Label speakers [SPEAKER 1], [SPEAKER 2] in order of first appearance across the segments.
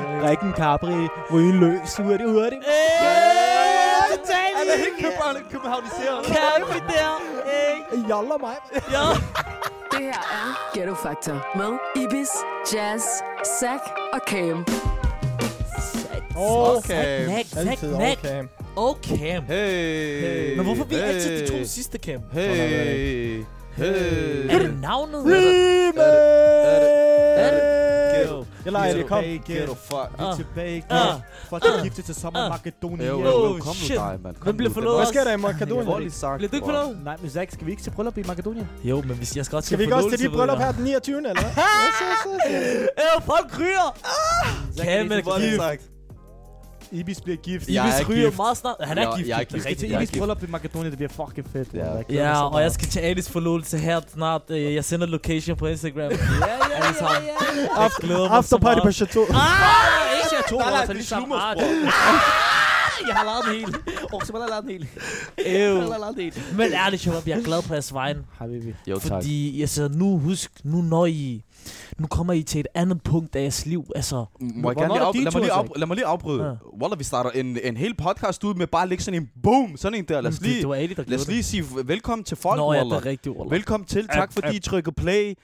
[SPEAKER 1] Rikken Capri ryge løs hurtigt, hurtigt.
[SPEAKER 2] Hey,
[SPEAKER 3] Han er
[SPEAKER 2] totalt
[SPEAKER 3] helt københavn- københavniseret.
[SPEAKER 2] Kaffe der. Hey.
[SPEAKER 1] Joller mig.
[SPEAKER 2] Ja.
[SPEAKER 4] Det her er Ghetto Factor med Ibis, Jazz, Zack og Cam.
[SPEAKER 3] Okay.
[SPEAKER 2] Knack, knack,
[SPEAKER 1] Altid
[SPEAKER 2] knack.
[SPEAKER 1] okay.
[SPEAKER 2] Og Cam.
[SPEAKER 3] Hey.
[SPEAKER 2] Men hvorfor vi altid de to
[SPEAKER 3] Hey.
[SPEAKER 2] sidste Cam?
[SPEAKER 3] Hey. Hey.
[SPEAKER 2] Er det navnet? Er det-
[SPEAKER 1] Remake! Jeg leger det, kom.
[SPEAKER 3] Hey, ghetto fuck.
[SPEAKER 1] Vi er
[SPEAKER 2] Ah.
[SPEAKER 1] tilbage igen.
[SPEAKER 2] Ah.
[SPEAKER 1] Fuck, jeg
[SPEAKER 2] Ah.
[SPEAKER 1] giftet til sommer
[SPEAKER 2] Ah.
[SPEAKER 1] Makedonien.
[SPEAKER 3] Jo,
[SPEAKER 2] Oh,
[SPEAKER 3] jo, jo, kom
[SPEAKER 2] shit.
[SPEAKER 3] nu dig, mand. Kom
[SPEAKER 2] Hvem bliver
[SPEAKER 3] nu,
[SPEAKER 2] forlovet?
[SPEAKER 1] Hvad
[SPEAKER 3] den-
[SPEAKER 1] sker der i
[SPEAKER 3] Den var lige
[SPEAKER 1] Makedonien?
[SPEAKER 3] sagt,
[SPEAKER 2] Bliver du ikke
[SPEAKER 3] bror.
[SPEAKER 2] forlovet?
[SPEAKER 1] Nej, men Zach, skal vi ikke til bryllup i Makedonien?
[SPEAKER 2] Jo, men hvis jeg skal også til
[SPEAKER 1] Skal vi ikke også til
[SPEAKER 2] forlovelse,
[SPEAKER 1] dit bryllup
[SPEAKER 2] ved
[SPEAKER 1] her
[SPEAKER 2] jeg.
[SPEAKER 1] den 29. eller hvad? Yes, yes, yes, yes.
[SPEAKER 2] Øh, folk ryger!
[SPEAKER 3] Zach,
[SPEAKER 2] Kan
[SPEAKER 3] det
[SPEAKER 2] man
[SPEAKER 3] er lige
[SPEAKER 2] give-
[SPEAKER 3] sagt.
[SPEAKER 1] Ibis bliver gift.
[SPEAKER 3] Jeg
[SPEAKER 2] Ibis
[SPEAKER 3] er
[SPEAKER 2] ryger
[SPEAKER 3] gift.
[SPEAKER 2] meget snart. Han er
[SPEAKER 3] Jeg-
[SPEAKER 2] gift.
[SPEAKER 3] jeg er
[SPEAKER 2] det
[SPEAKER 1] Vi skal
[SPEAKER 3] gift.
[SPEAKER 1] til
[SPEAKER 3] Jeg er
[SPEAKER 1] Ibis bryllup i Makedonien, det bliver fucking fedt.
[SPEAKER 3] Ja.
[SPEAKER 1] mand. Jeg glæder mig
[SPEAKER 2] Ja,
[SPEAKER 1] så
[SPEAKER 2] og
[SPEAKER 1] meget.
[SPEAKER 2] jeg skal til Alice forlovelse her snart. Øh, Jeg sender location på Instagram. Ja, ja, ja, ja. Jeg glæder mig så
[SPEAKER 1] After party på
[SPEAKER 2] meget.
[SPEAKER 1] Chateau.
[SPEAKER 2] Ah, ikke jeg to
[SPEAKER 3] Nej, nej,
[SPEAKER 2] år, så
[SPEAKER 3] det er
[SPEAKER 2] ligesom.
[SPEAKER 3] slummer,
[SPEAKER 2] Ah,
[SPEAKER 3] bror.
[SPEAKER 2] Jeg har lavet en hel.
[SPEAKER 5] Og så var der lavet en hel.
[SPEAKER 2] Ew.
[SPEAKER 5] Der er lavet en hel.
[SPEAKER 2] Men ærligt, Shabab, jeg er glad på jeres vejen.
[SPEAKER 1] Habibi.
[SPEAKER 3] Jo, tak.
[SPEAKER 2] Fordi, altså, nu husk, nu når I... Nu kommer I til et andet punkt af jeres liv. Altså,
[SPEAKER 3] Må jeg
[SPEAKER 1] Hvornår
[SPEAKER 3] gerne lige
[SPEAKER 1] er
[SPEAKER 3] af,
[SPEAKER 1] din
[SPEAKER 3] lad, mig
[SPEAKER 1] tur,
[SPEAKER 3] lige af,
[SPEAKER 1] Zach?
[SPEAKER 3] lad mig lige afbryde.
[SPEAKER 2] Ja.
[SPEAKER 3] Wallah, vi starter en, en hel podcast ud med bare at lægge sådan en boom, sådan en der. Lad os
[SPEAKER 2] det,
[SPEAKER 3] lige,
[SPEAKER 2] det var Ali, der
[SPEAKER 3] lad
[SPEAKER 2] gjorde
[SPEAKER 3] os lige sige velkommen til folk,
[SPEAKER 2] det. Nå, ja, det er
[SPEAKER 3] Wallah.
[SPEAKER 2] rigtigt, Orla.
[SPEAKER 3] Velkommen til. Tak fordi I trykker play.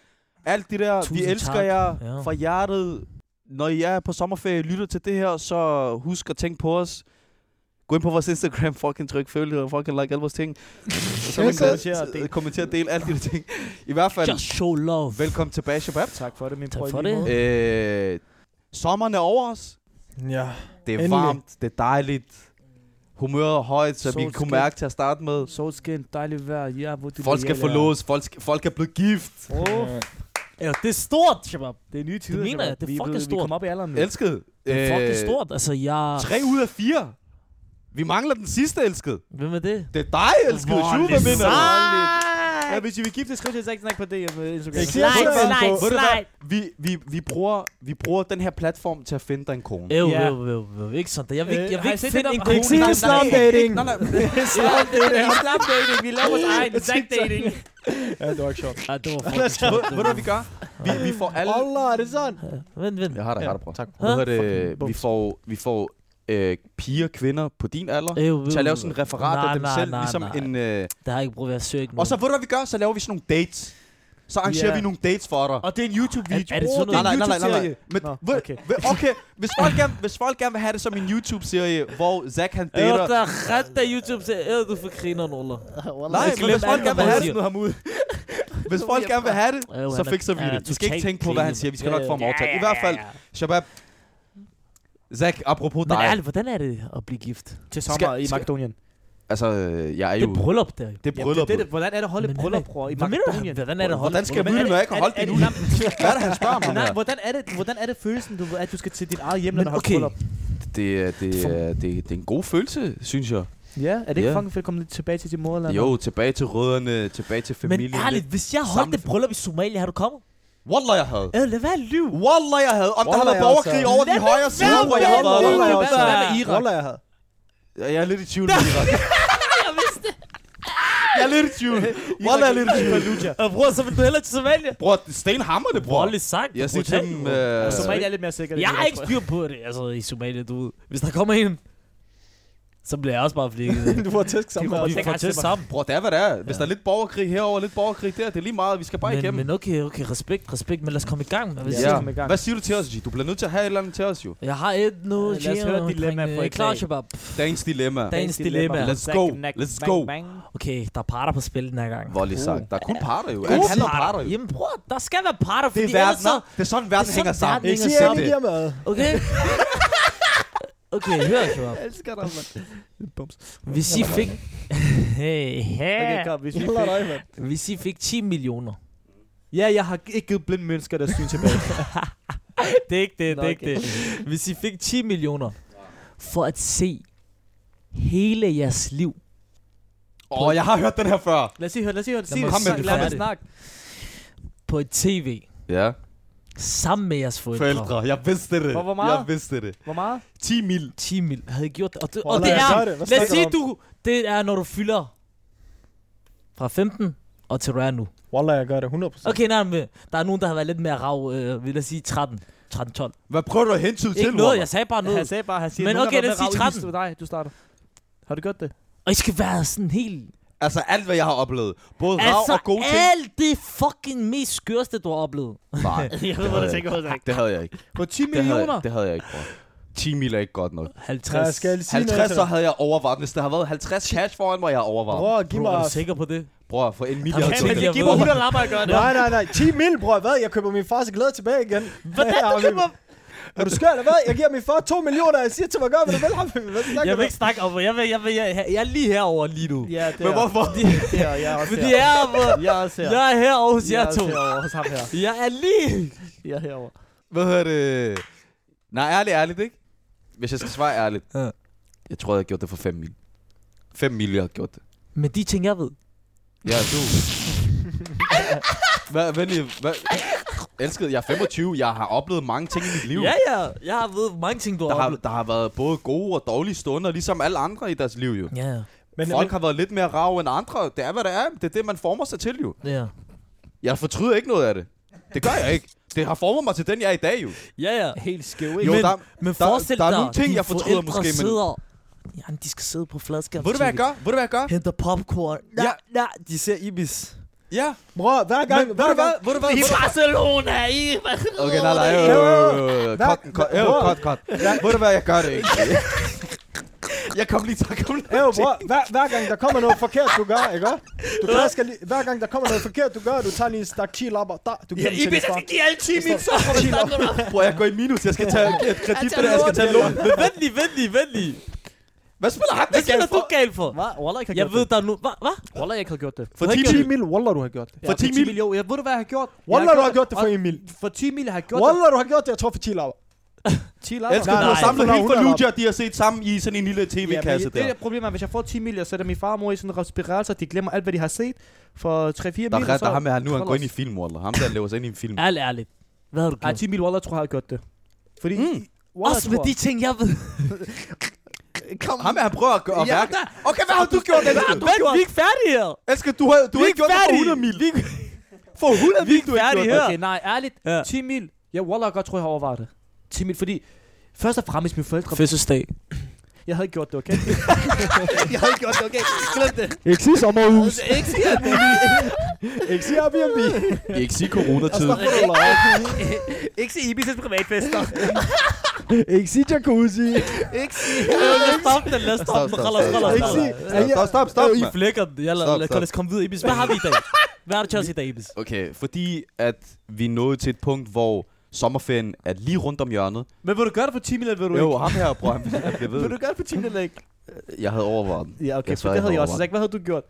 [SPEAKER 3] Alt det der. Vi
[SPEAKER 2] Tusind
[SPEAKER 3] elsker
[SPEAKER 2] tak.
[SPEAKER 3] jer
[SPEAKER 2] Ja.
[SPEAKER 3] fra hjertet. Når I er på sommerferie og lytter til det her, så husk at tænke på os. Gå ind på vores Instagram, fucking tryk følge og fucking like alle vores ting. så man
[SPEAKER 1] Yes, yes.
[SPEAKER 3] kommentere, og del- øh, kommentere og dele alle de der ting. I hvert fald,
[SPEAKER 2] Just show love.
[SPEAKER 3] velkommen tilbage, Shabab.
[SPEAKER 1] Tak for det, min
[SPEAKER 2] Tak
[SPEAKER 1] bror. i
[SPEAKER 2] for
[SPEAKER 1] lige
[SPEAKER 2] det.
[SPEAKER 1] måde.
[SPEAKER 3] Øh, sommeren er over os.
[SPEAKER 1] Ja.
[SPEAKER 3] Det er
[SPEAKER 1] Endelig.
[SPEAKER 3] varmt, det er dejligt. Humøret er højt, så vi
[SPEAKER 1] Solskin.
[SPEAKER 3] kunne mærke til at starte med.
[SPEAKER 1] Solskin, dejligt vejr. Ja, hvor du
[SPEAKER 3] Folk skal forlås, folk, skal- folk er blevet gift.
[SPEAKER 1] Oh,
[SPEAKER 2] Ja, det er stort, Shabab.
[SPEAKER 1] det er nye tider.
[SPEAKER 2] mener
[SPEAKER 1] Jacob.
[SPEAKER 2] jeg, det er
[SPEAKER 1] Vi
[SPEAKER 2] fucking
[SPEAKER 1] blevet- Vi
[SPEAKER 2] stort.
[SPEAKER 1] kommer op i alderen nu.
[SPEAKER 3] Elsket.
[SPEAKER 2] Det er fucking
[SPEAKER 3] Øh,
[SPEAKER 2] stort. Altså, jeg...
[SPEAKER 3] Tre ud af fire. Vi mangler den sidste, elskede.
[SPEAKER 2] Hvem er det?
[SPEAKER 3] Det er dig, elskede.
[SPEAKER 2] Hvor
[SPEAKER 3] Shu,
[SPEAKER 2] er
[SPEAKER 3] hvad
[SPEAKER 2] det
[SPEAKER 3] mener du?
[SPEAKER 1] Ja, hvis I vil gifte, skriv til Zack Snack på DM øh, Instagram.
[SPEAKER 3] Ikke
[SPEAKER 1] Slide,
[SPEAKER 3] Slide,
[SPEAKER 1] slide,
[SPEAKER 3] Ved du hvad? Vi, vi, vi, bruger, vi bruger den her platform til at finde dig en kone.
[SPEAKER 2] Øv,
[SPEAKER 1] Ja.
[SPEAKER 2] øv, øv, øv, ikke sådan. Jeg vil,
[SPEAKER 1] Øh,
[SPEAKER 2] jeg vil
[SPEAKER 1] har I
[SPEAKER 2] ikke
[SPEAKER 1] set
[SPEAKER 2] finde
[SPEAKER 1] det
[SPEAKER 2] en
[SPEAKER 1] der-
[SPEAKER 2] kone.
[SPEAKER 1] Ikke sige
[SPEAKER 2] der-
[SPEAKER 1] islam
[SPEAKER 2] der-
[SPEAKER 1] dating.
[SPEAKER 3] Nej, nej.
[SPEAKER 5] Slap dating. Slap dating. Vi laver vores egen. Slap dating.
[SPEAKER 1] Ja, det var ikke sjovt.
[SPEAKER 2] Ja, det var
[SPEAKER 3] Ved,
[SPEAKER 2] fucking
[SPEAKER 3] ved du, hvad vi gør? Vi, vi får alle...
[SPEAKER 1] Allah, er det sådan?
[SPEAKER 2] Vent, vent.
[SPEAKER 3] Jeg har dig, jeg har dig, bror.
[SPEAKER 1] Tak.
[SPEAKER 3] Hvad hedder det?
[SPEAKER 1] Fucking
[SPEAKER 3] Vi får, vi får øh, piger, kvinder på din alder.
[SPEAKER 2] Øv, øv,
[SPEAKER 3] Til at lave
[SPEAKER 2] øv.
[SPEAKER 3] sådan en referat af
[SPEAKER 2] Øh, Nej,
[SPEAKER 3] dem
[SPEAKER 2] nej,
[SPEAKER 3] selv.
[SPEAKER 2] nej,
[SPEAKER 3] Ligesom
[SPEAKER 2] nej.
[SPEAKER 3] en... Øh,
[SPEAKER 2] Det har jeg ikke brug for, jeg søger ikke
[SPEAKER 3] og
[SPEAKER 2] noget.
[SPEAKER 3] så ved du, hvad vi gør? Så laver vi sådan nogle dates. Så arrangerer
[SPEAKER 1] Ja.
[SPEAKER 3] vi nogle dates for dig.
[SPEAKER 1] Og det er en YouTube-video.
[SPEAKER 2] Er- er det sådan
[SPEAKER 1] Åh,
[SPEAKER 3] Nej,
[SPEAKER 1] er
[SPEAKER 3] nej,
[SPEAKER 1] en
[SPEAKER 3] nej, nej, nej.
[SPEAKER 1] YouTube-serie.
[SPEAKER 3] Men,
[SPEAKER 1] Nå,
[SPEAKER 3] okay.
[SPEAKER 1] okay.
[SPEAKER 3] okay, hvis folk, gerne, hvis folk gerne vil have det som en YouTube-serie, hvor Zack han
[SPEAKER 2] Øv,
[SPEAKER 3] dater...
[SPEAKER 2] der er ret der YouTube til. Øv, du får griner, Nolla.
[SPEAKER 3] Nej,
[SPEAKER 2] Jeg
[SPEAKER 3] men
[SPEAKER 2] glemte
[SPEAKER 3] hvis folk
[SPEAKER 2] alt, hvad
[SPEAKER 3] gerne vil have
[SPEAKER 2] han
[SPEAKER 3] det, hvis folk gerne vil have det,
[SPEAKER 2] Øv,
[SPEAKER 3] så
[SPEAKER 2] han er-
[SPEAKER 3] fikser vi
[SPEAKER 2] han er
[SPEAKER 3] det. Vi skal ikke
[SPEAKER 2] totalt
[SPEAKER 3] tænke på, hvad
[SPEAKER 2] clean.
[SPEAKER 3] han siger. Vi skal
[SPEAKER 2] Ja,
[SPEAKER 3] nok få ham
[SPEAKER 2] ja,
[SPEAKER 3] overtalt. I
[SPEAKER 2] ja,
[SPEAKER 3] hvert
[SPEAKER 2] ja,
[SPEAKER 3] fald,
[SPEAKER 2] ja.
[SPEAKER 3] Shabab, Zack, apropos
[SPEAKER 2] Men
[SPEAKER 3] dig.
[SPEAKER 2] ærligt, hvordan er det at blive gift?
[SPEAKER 1] Til sommer
[SPEAKER 3] Skal-
[SPEAKER 1] i
[SPEAKER 3] skal-
[SPEAKER 1] Makedonien.
[SPEAKER 3] Altså, jeg er
[SPEAKER 2] Det
[SPEAKER 3] jo...
[SPEAKER 2] er bryllup, der.
[SPEAKER 3] Det er
[SPEAKER 1] Jamen,
[SPEAKER 3] bryllup.
[SPEAKER 1] det er det. Hvordan er det at holde et
[SPEAKER 2] Men
[SPEAKER 1] bryllup,
[SPEAKER 2] hvad-
[SPEAKER 1] bror, i
[SPEAKER 2] Hvad mener du?
[SPEAKER 1] Makedonien?
[SPEAKER 2] Hvordan er det at holde
[SPEAKER 3] Hvordan skal jeg
[SPEAKER 1] Men
[SPEAKER 3] vide det,
[SPEAKER 1] er
[SPEAKER 3] når jeg ikke har holdt
[SPEAKER 1] er-
[SPEAKER 3] det endnu?
[SPEAKER 1] er- nej,
[SPEAKER 3] Hvad er det, han spørger mig? om
[SPEAKER 1] Nej,
[SPEAKER 3] her?
[SPEAKER 1] hvordan er det, hvordan er det følelsen, du at du skal til dit eget hjem, når
[SPEAKER 2] Men
[SPEAKER 1] du har et
[SPEAKER 2] okay.
[SPEAKER 1] bryllup?
[SPEAKER 3] Det er, det, er, det, er, det er en god følelse, synes jeg.
[SPEAKER 1] Ja, er det ikke
[SPEAKER 3] Ja.
[SPEAKER 1] fucking fedt at komme lidt tilbage til dit moderland?
[SPEAKER 3] Jo, tilbage til rødderne, tilbage til
[SPEAKER 2] Men
[SPEAKER 3] familien.
[SPEAKER 2] ærligt, hvis jeg holdt
[SPEAKER 3] Samle-
[SPEAKER 2] et bryllup i Somalia, har du kommet?
[SPEAKER 3] Wallah, jeg havde.
[SPEAKER 2] Øv, lad være lyv.
[SPEAKER 3] Wallah, jeg havde. Om der
[SPEAKER 1] Wallah,
[SPEAKER 3] havde været
[SPEAKER 1] jeg
[SPEAKER 3] borgerkrig
[SPEAKER 1] også.
[SPEAKER 3] over den højre side, hvor jeg havde været.
[SPEAKER 2] Wallah,
[SPEAKER 3] Wallah, jeg
[SPEAKER 2] også. Hvad med
[SPEAKER 1] Irak? Roller, jeg havde.
[SPEAKER 3] også. Jeg er lidt i tvivl med Irak.
[SPEAKER 2] Jeg vidste det.
[SPEAKER 3] Jeg er lidt i tvivl. Wallah, jeg er lidt i tvivl.
[SPEAKER 1] Fallujah.
[SPEAKER 2] Og bror, så vil du hellere til Somalia.
[SPEAKER 3] Bror, sten hammer det, bror.
[SPEAKER 2] Rolle sagt.
[SPEAKER 3] Jeg siger til
[SPEAKER 2] brutal.
[SPEAKER 3] dem... øh,
[SPEAKER 1] Somalia er lidt mere sikkert.
[SPEAKER 2] Jeg har ikke styr på det, altså i Somalia, du ved. Hvis der kommer en, så bliver jeg også bare flikket.
[SPEAKER 1] Du får tæsk
[SPEAKER 2] Vi
[SPEAKER 1] sammen med
[SPEAKER 2] kommer vi får til sammen.
[SPEAKER 3] Bror, det er, hvad det er. Hvis der er lidt borgerkrig herover, lidt borgerkrig der, det er lige meget. Vi skal bare
[SPEAKER 2] Men,
[SPEAKER 3] igennem.
[SPEAKER 2] men okay, okay, respekt, respekt, men lad os komme i gang. Hvis
[SPEAKER 1] Ja.
[SPEAKER 2] ja.
[SPEAKER 1] komme i gang.
[SPEAKER 3] Hvad siger du til os, G? Du bliver nødt til at have et eller andet til os, jo.
[SPEAKER 2] Jeg har et nu,
[SPEAKER 1] Øh, lad os høre
[SPEAKER 2] Gio,
[SPEAKER 1] dilemma
[SPEAKER 2] omkring,
[SPEAKER 1] for
[SPEAKER 2] øh,
[SPEAKER 1] i
[SPEAKER 2] Klar,
[SPEAKER 1] dag.
[SPEAKER 2] Shabab.
[SPEAKER 3] Dagens dilemma.
[SPEAKER 2] Dagens dilemma.
[SPEAKER 3] Let's go. Let's go.
[SPEAKER 2] Okay, der er parter på spil den her gang.
[SPEAKER 3] Voldelig sagt. Der er kun parter, jo. Alt
[SPEAKER 2] Gode
[SPEAKER 3] handler om parter, jo.
[SPEAKER 2] Jamen bror, der skal være parter,
[SPEAKER 3] Det
[SPEAKER 2] fordi
[SPEAKER 3] er
[SPEAKER 2] ellers så...
[SPEAKER 3] verden. Det er sådan, verden
[SPEAKER 2] det er
[SPEAKER 3] hænger
[SPEAKER 2] sådan, verden
[SPEAKER 3] sammen.
[SPEAKER 1] Ikke
[SPEAKER 2] hænger
[SPEAKER 1] sige, at
[SPEAKER 2] sammen.
[SPEAKER 1] han giver mad.
[SPEAKER 2] Okay. Okay, hør, Shabab.
[SPEAKER 1] elsker dig, mand. Bums.
[SPEAKER 2] Hvis I fik... Hey,
[SPEAKER 1] Okay,
[SPEAKER 2] hey.
[SPEAKER 1] kom, hvis vi
[SPEAKER 5] Hold
[SPEAKER 1] fik...
[SPEAKER 5] dig, mand.
[SPEAKER 2] Hvis I fik 10 millioner.
[SPEAKER 1] Ja, jeg har ikke givet blinde mennesker der syn tilbage.
[SPEAKER 2] Det er ikke det,
[SPEAKER 1] Nå,
[SPEAKER 2] det er
[SPEAKER 1] okay.
[SPEAKER 2] ikke det. Hvis I fik 10 millioner for at se hele jeres liv
[SPEAKER 3] Åh, oh, jeg har hørt den her før.
[SPEAKER 1] Lad os lige høre, lad os lige høre. Sig
[SPEAKER 2] Lad
[SPEAKER 1] det,
[SPEAKER 2] mig
[SPEAKER 3] komme med
[SPEAKER 1] snak,
[SPEAKER 3] det
[SPEAKER 1] lad mig
[SPEAKER 2] færdigt.
[SPEAKER 1] snakke.
[SPEAKER 2] på et tv
[SPEAKER 3] Ja.
[SPEAKER 2] sammen med jeres forældre.
[SPEAKER 3] Forældre, jeg vidste det.
[SPEAKER 1] Hvor- hvor meget?
[SPEAKER 3] Jeg vidste det.
[SPEAKER 1] Hvor meget?
[SPEAKER 3] 10 mil.
[SPEAKER 2] 10 mil havde gjort det. Og det, og
[SPEAKER 1] Hold
[SPEAKER 2] det
[SPEAKER 1] da, så
[SPEAKER 2] er,
[SPEAKER 1] er det. Hvad
[SPEAKER 2] lad os
[SPEAKER 1] snakker
[SPEAKER 2] sige,
[SPEAKER 1] du
[SPEAKER 2] du, det er, når du fylder fra 15 og til du er nu.
[SPEAKER 1] Wallah, jeg gør det 100%.
[SPEAKER 2] Okay, nej, men der er nogen, der har været lidt mere rav, øh, vil jeg sige 13. 13, 12.
[SPEAKER 3] Hvad prøver du at hentyde til,
[SPEAKER 2] Ikke noget,
[SPEAKER 3] Robert?
[SPEAKER 2] jeg sagde bare
[SPEAKER 1] Han
[SPEAKER 2] noget.
[SPEAKER 1] sagde bare, han siger,
[SPEAKER 2] Men
[SPEAKER 1] "Nogen
[SPEAKER 2] okay,
[SPEAKER 1] har
[SPEAKER 2] lad
[SPEAKER 1] været
[SPEAKER 2] os sige
[SPEAKER 1] rav i
[SPEAKER 2] 13.
[SPEAKER 1] huset." Nej, du starter. Har du gjort det?
[SPEAKER 2] Og I skal være sådan helt...
[SPEAKER 3] Altså alt, hvad jeg har oplevet. Både rav
[SPEAKER 2] Altså,
[SPEAKER 3] og gode ting.
[SPEAKER 2] alt det fucking mest skørste, du har oplevet.
[SPEAKER 3] Nej,
[SPEAKER 1] Jeg
[SPEAKER 3] det havde jeg ikke. Det havde jeg ikke.
[SPEAKER 1] På 10
[SPEAKER 3] Det havde
[SPEAKER 1] millioner?
[SPEAKER 3] jeg, det havde jeg ikke, bror. 10 mil er ikke godt nok.
[SPEAKER 2] 50.
[SPEAKER 5] skal sige
[SPEAKER 3] 50, så
[SPEAKER 5] noget.
[SPEAKER 3] havde jeg overvarmt. Hvis der havde været 50 cash foran mig, jeg havde overvarmt.
[SPEAKER 5] Bror, giv
[SPEAKER 2] Bro, er
[SPEAKER 5] mig...
[SPEAKER 2] du sikker på det?
[SPEAKER 3] Bror, for en mil,
[SPEAKER 2] Jamen,
[SPEAKER 3] jeg havde
[SPEAKER 2] kan
[SPEAKER 1] Ja, men
[SPEAKER 3] tænkt,
[SPEAKER 1] det giver mig 100 lapper at gøre det.
[SPEAKER 5] Nej, nej, nej. 10 mil, bror. Hvad? Jeg køber min fars glæde tilbage igen. Hvordan du køber... Er du skør, eller hvad? Jeg giver min far 2 millioner, og jeg siger til mig, gør, hvad du vil, Habibi. Hvad snakker
[SPEAKER 2] Jeg
[SPEAKER 5] du
[SPEAKER 2] vil
[SPEAKER 5] om?
[SPEAKER 2] ikke snakke om det. Jeg, vil, jeg, vil, jeg, jeg er lige herover lige nu.
[SPEAKER 1] Ja, det
[SPEAKER 3] Men
[SPEAKER 1] er
[SPEAKER 3] hvorfor?
[SPEAKER 1] det er jeg er også
[SPEAKER 2] Fordi
[SPEAKER 1] her.
[SPEAKER 2] jeg er, hvor-
[SPEAKER 1] Jeg er også her.
[SPEAKER 2] jeg er herovre
[SPEAKER 1] Jeg
[SPEAKER 2] hos
[SPEAKER 1] er
[SPEAKER 2] jer
[SPEAKER 1] også
[SPEAKER 2] to.
[SPEAKER 1] herovre hos ham her.
[SPEAKER 2] Jeg er lige...
[SPEAKER 1] Jeg er herovre.
[SPEAKER 3] Hvad hedder det? Nej, ærligt, ærligt, ikke? Hvis jeg skal svare ærligt.
[SPEAKER 2] Ja.
[SPEAKER 3] Jeg tror, jeg har gjort det for 5 mil. 5 mil, jeg har gjort det.
[SPEAKER 2] Men de ting, jeg ved.
[SPEAKER 3] Ja, du. Hvad, venlig, hvad? Elskede, jeg er 25. Jeg har oplevet mange ting i mit liv.
[SPEAKER 2] Ja, ja. Jeg har ved mange ting, du har
[SPEAKER 3] Der har,
[SPEAKER 2] oplevet.
[SPEAKER 3] der har været både gode og dårlige stunder, ligesom alle andre i deres liv jo.
[SPEAKER 2] Ja, ja.
[SPEAKER 5] Men,
[SPEAKER 3] Folk har været lidt mere rave end andre. Det er, hvad det er. Det er det, man former sig til jo.
[SPEAKER 2] Ja,
[SPEAKER 3] Jeg fortryder ikke noget af det. Det gør jeg ikke. Det har formet mig til den, jeg er i dag jo.
[SPEAKER 2] ja. ja.
[SPEAKER 1] Helt skæv,
[SPEAKER 3] Jo,
[SPEAKER 1] ikke?
[SPEAKER 2] men,
[SPEAKER 3] der-
[SPEAKER 2] men
[SPEAKER 3] der-
[SPEAKER 2] forestil
[SPEAKER 3] der er
[SPEAKER 2] dig,
[SPEAKER 3] nogle ting,
[SPEAKER 2] dine
[SPEAKER 3] jeg fortryder
[SPEAKER 2] forældre
[SPEAKER 3] måske, men-
[SPEAKER 2] sidder... Jamen, de skal sidde på fladskærm.
[SPEAKER 3] Ved du, hvad jeg gør? Ved du, hvad jeg gør?
[SPEAKER 2] Henter popcorn. Nej,
[SPEAKER 3] Ja.
[SPEAKER 2] ja. nej, de ser Ibis.
[SPEAKER 3] Ja.
[SPEAKER 5] bror, hver gang...
[SPEAKER 3] Men ved du hvad? Ved du hvad?
[SPEAKER 1] I
[SPEAKER 3] Ved du-
[SPEAKER 1] Barcelona, i
[SPEAKER 3] Okay, nej, nej.
[SPEAKER 5] Jo, jo, Hvad?
[SPEAKER 3] Cut, cut, øh,
[SPEAKER 5] Bror.
[SPEAKER 3] cut, cut. Ved du hvad, jeg gør det ikke. Jeg kom lige til at komme
[SPEAKER 5] Æv, bror, hver, hver gang der kommer noget forkert, du gør, ikke også? Du klasker lige, hver gang der kommer noget forkert, du gør, du tager lige en stak chill op, og der, du giver
[SPEAKER 1] Ja,
[SPEAKER 5] den
[SPEAKER 1] I
[SPEAKER 5] til din
[SPEAKER 1] vil
[SPEAKER 5] far.
[SPEAKER 1] give alle 10 min så kommer vi snakke om
[SPEAKER 3] Bror, jeg går i minus. Jeg skal tage et kredit på det. Jeg skal tage lån.
[SPEAKER 2] Men vent lige, vent lige, vent lige.
[SPEAKER 3] Hvad spiller han
[SPEAKER 2] Hvad
[SPEAKER 3] det
[SPEAKER 2] skal
[SPEAKER 3] galt
[SPEAKER 2] du
[SPEAKER 3] for?
[SPEAKER 2] galt for?
[SPEAKER 1] Hvad? Wallah ikke har
[SPEAKER 2] Jeg
[SPEAKER 1] gjort
[SPEAKER 2] ved,
[SPEAKER 1] det.
[SPEAKER 2] der er nu... Hvad? Hva?
[SPEAKER 1] Wallah ikke har gjort det.
[SPEAKER 3] For
[SPEAKER 2] Hvad
[SPEAKER 3] 10
[SPEAKER 2] gør
[SPEAKER 3] mil.
[SPEAKER 5] 10 mil, Wallah, du har gjort det.
[SPEAKER 1] Ja,
[SPEAKER 3] For 10 mil.
[SPEAKER 1] Jo, jeg ved du, hvad jeg har gjort? Jeg
[SPEAKER 5] Wallah, du har gjort det for en mil.
[SPEAKER 1] For 10 mil har jeg gjort det.
[SPEAKER 5] Wallah, du har gjort det, jeg tror, for chill op.
[SPEAKER 1] 10 lapper.
[SPEAKER 3] Elsker,
[SPEAKER 5] Nej,
[SPEAKER 3] du har
[SPEAKER 5] nej,
[SPEAKER 3] samlet
[SPEAKER 5] nej,
[SPEAKER 3] hele
[SPEAKER 5] nej,
[SPEAKER 3] Fallujah, de har set sammen i sådan en lille tv-kasse
[SPEAKER 1] det
[SPEAKER 3] der.
[SPEAKER 1] er problemet, er, hvis jeg får 10 mil, jeg sætter min far og mor i sådan en spirator, de glemmer alt, hvad de har set for 3-4 mil.
[SPEAKER 3] Der er ret, der er ham her, nu han
[SPEAKER 1] Hold
[SPEAKER 3] går ind i
[SPEAKER 1] os.
[SPEAKER 3] film, Wallah. Ham der laver sig ind i en film.
[SPEAKER 2] Ærligt, ærligt. Hvad har du
[SPEAKER 1] Ej,
[SPEAKER 2] gjort?
[SPEAKER 1] 10 mil, Wallah tror jeg har gjort det. Fordi
[SPEAKER 3] Mm.
[SPEAKER 1] Wallah
[SPEAKER 2] Også med
[SPEAKER 1] tror-
[SPEAKER 2] de ting, jeg ved.
[SPEAKER 1] Kom.
[SPEAKER 3] Ham her, han prøver at gøre at værke. Okay, hvad har du gjort, Elsker?
[SPEAKER 2] Vent, vi er ikke færdige her.
[SPEAKER 3] Elsker, du har, du har
[SPEAKER 2] Vi er
[SPEAKER 3] ikke gjort det for
[SPEAKER 2] færdige.
[SPEAKER 3] 100 mil. For 100 mil, du har ikke
[SPEAKER 2] færdige
[SPEAKER 3] gjort det.
[SPEAKER 2] her.
[SPEAKER 1] Okay, nej, ærligt.
[SPEAKER 2] Ja.
[SPEAKER 1] 10 mil. Ja, Wallah godt tror jeg har overvejet det. 10 mil, fordi først og fremmest mine forældre,
[SPEAKER 2] Fødselsdag.
[SPEAKER 1] jeg havde ikke gjort det, okay?
[SPEAKER 3] Jeg har ikke gjort det, okay. Glem det.
[SPEAKER 5] Ikke sige sommerhus.
[SPEAKER 1] Ikke siger det.
[SPEAKER 5] Ikke sige Airbnb. Altså,
[SPEAKER 3] Ikke sige coronatid.
[SPEAKER 1] Ikke sige Ibis' privatfester.
[SPEAKER 5] Ikke sige jacuzzi.
[SPEAKER 2] Lad os stoppe den, lad os stoppe
[SPEAKER 3] Stop,
[SPEAKER 2] den.
[SPEAKER 3] stop,
[SPEAKER 2] Roller,
[SPEAKER 3] stop,
[SPEAKER 2] roller,
[SPEAKER 3] stop,
[SPEAKER 5] Ikke
[SPEAKER 2] roller.
[SPEAKER 5] sige... Er I-
[SPEAKER 3] Stop, stop, stop.
[SPEAKER 2] I
[SPEAKER 3] mand.
[SPEAKER 2] flækker den. Jeg lader,
[SPEAKER 3] Stop,
[SPEAKER 2] lad
[SPEAKER 3] stop.
[SPEAKER 2] os komme videre. Ibis, hvad har vi i dag? Hvad har du til os i dag, Ibis?
[SPEAKER 3] Okay, fordi at vi nåede til et punkt, hvor sommerferien er lige rundt om hjørnet.
[SPEAKER 1] Men vil du gøre det for 10 mil, eller vil du
[SPEAKER 3] Jo,
[SPEAKER 1] ikke?
[SPEAKER 3] ham her, bror, han han blev
[SPEAKER 1] Vil du
[SPEAKER 3] ved.
[SPEAKER 1] gøre det for 10 mil, eller ikke?
[SPEAKER 3] Jeg havde overvejet den.
[SPEAKER 1] Ja, okay,
[SPEAKER 3] Jeg
[SPEAKER 1] for
[SPEAKER 3] tror,
[SPEAKER 1] det
[SPEAKER 3] jeg
[SPEAKER 1] havde jeg
[SPEAKER 3] har
[SPEAKER 1] også sagt. Hvad havde du gjort?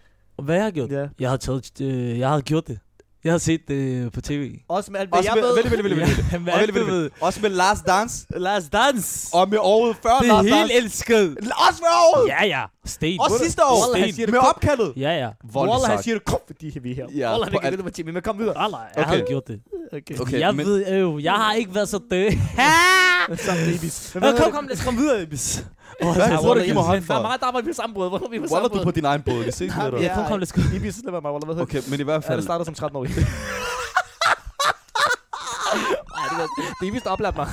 [SPEAKER 2] Hvad jeg har gjort?
[SPEAKER 1] Ja.
[SPEAKER 2] Jeg har taget... øh, Jeg har gjort det. Jeg har set det på tv.
[SPEAKER 1] Også med alt, hvad
[SPEAKER 3] Også
[SPEAKER 1] jeg
[SPEAKER 3] med,
[SPEAKER 1] ved.
[SPEAKER 3] vent, vent, vent, vent.
[SPEAKER 2] Ja, men
[SPEAKER 3] Og
[SPEAKER 2] alt
[SPEAKER 3] vent, vent,
[SPEAKER 2] du ved.
[SPEAKER 3] vent. Også med Last Dance.
[SPEAKER 2] Lad os danse.
[SPEAKER 3] Og med året før
[SPEAKER 2] Det er
[SPEAKER 3] Last
[SPEAKER 2] helt
[SPEAKER 3] Dance.
[SPEAKER 2] elsket.
[SPEAKER 3] Også med året.
[SPEAKER 2] Ja, ja. Sten.
[SPEAKER 3] Også sidste år.
[SPEAKER 2] Wallah, han siger det
[SPEAKER 3] Med opkaldet.
[SPEAKER 2] Ja, ja.
[SPEAKER 1] Wallah, han
[SPEAKER 3] Voldelig sagt.
[SPEAKER 1] siger det, kom, fordi vi er her.
[SPEAKER 3] Ja,
[SPEAKER 1] Wallah,
[SPEAKER 3] på
[SPEAKER 1] det kan
[SPEAKER 3] alt.
[SPEAKER 1] det for 10 mil, men kom videre. Ah,
[SPEAKER 2] Wallah, jeg
[SPEAKER 3] Okay.
[SPEAKER 2] har gjort det.
[SPEAKER 1] Okay.
[SPEAKER 3] Okay,
[SPEAKER 2] jeg
[SPEAKER 3] men-
[SPEAKER 2] ved jo, jeg har ikke været så død.
[SPEAKER 1] Sammen med Ibis. Men hvad
[SPEAKER 2] Nå,
[SPEAKER 1] havde
[SPEAKER 2] kom,
[SPEAKER 1] du-
[SPEAKER 2] kom, lad os komme videre, Ibis. Åh,
[SPEAKER 3] Hvad
[SPEAKER 2] jeg
[SPEAKER 3] tror du,
[SPEAKER 2] tror,
[SPEAKER 3] giv mig hånd
[SPEAKER 1] Der er
[SPEAKER 3] for?
[SPEAKER 1] meget arbejde, vi er på samme båd. Hvorfor er vi på samme
[SPEAKER 3] Wallah, du er på din egen båd. Vi ses med
[SPEAKER 1] Ja.
[SPEAKER 3] dig.
[SPEAKER 2] Ja, kom, kom, lad os gå.
[SPEAKER 1] Ibis, lad mig, Wallah, hvad hedder
[SPEAKER 3] Okay, men i hvert
[SPEAKER 1] Ja, det
[SPEAKER 3] fald...
[SPEAKER 1] startede som 13-årig. Nej, det var det er vist oplært mig.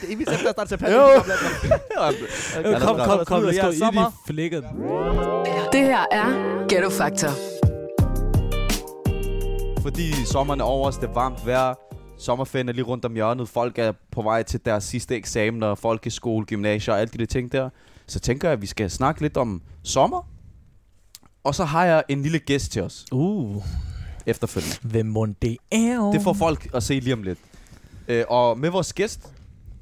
[SPEAKER 1] Det er vist efter at starte til pandemi,
[SPEAKER 3] Jo.
[SPEAKER 1] der opladte mig.
[SPEAKER 2] Kom, kom, kom, kom, lad os gå
[SPEAKER 1] Jeg er
[SPEAKER 2] ind i
[SPEAKER 1] sommer.
[SPEAKER 2] flækken.
[SPEAKER 4] Det her er Ghetto Factor.
[SPEAKER 3] Fordi sommeren er over os, det er varmt vejr. Sommerferien er lige rundt om hjørnet. Folk er på vej til deres sidste eksamener, folkeskole, gymnasier og alle de der ting der. Så tænker jeg, at vi skal snakke lidt om sommer. Og så har jeg en lille gæst til os
[SPEAKER 2] Uh,
[SPEAKER 3] efterfølgende.
[SPEAKER 2] hvem må det er?
[SPEAKER 3] Det får folk at se lige om lidt. Øh, og med vores gæst...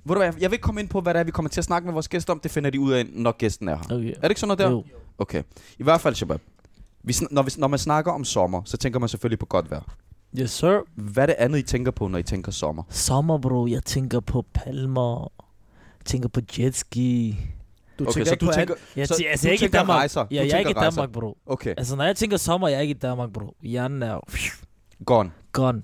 [SPEAKER 3] Ved du hvad, jeg vil ikke komme ind på, hvad det er, vi kommer til at snakke med vores gæst om. Det finder de ud af, når gæsten er her.
[SPEAKER 2] Okay.
[SPEAKER 3] Er det ikke sådan noget der?
[SPEAKER 2] Jo.
[SPEAKER 3] Okay. I hvert fald, Shabab. Vi, sn- når, vi, når man snakker om sommer, så tænker man selvfølgelig på godt vejr.
[SPEAKER 2] Yes, sir.
[SPEAKER 3] Hvad er det andet, I tænker på, når I tænker sommer?
[SPEAKER 2] Sommer, bro. Jeg tænker på palmer. Jeg tænker på jetski.
[SPEAKER 1] Du
[SPEAKER 3] Okay, så du tænker...
[SPEAKER 2] Jeg,
[SPEAKER 3] Så
[SPEAKER 2] tæ- altså, jeg
[SPEAKER 3] du
[SPEAKER 2] er ikke i
[SPEAKER 3] tænker
[SPEAKER 2] Danmark.
[SPEAKER 3] rejser. Du
[SPEAKER 2] Ja, jeg er
[SPEAKER 3] tænker
[SPEAKER 2] ikke i
[SPEAKER 3] rejser.
[SPEAKER 2] Danmark, bro.
[SPEAKER 3] Okay,
[SPEAKER 2] Altså, når jeg tænker sommer, jeg er ikke i Danmark, bro. Hjernen er phew,
[SPEAKER 3] gone.
[SPEAKER 2] gone.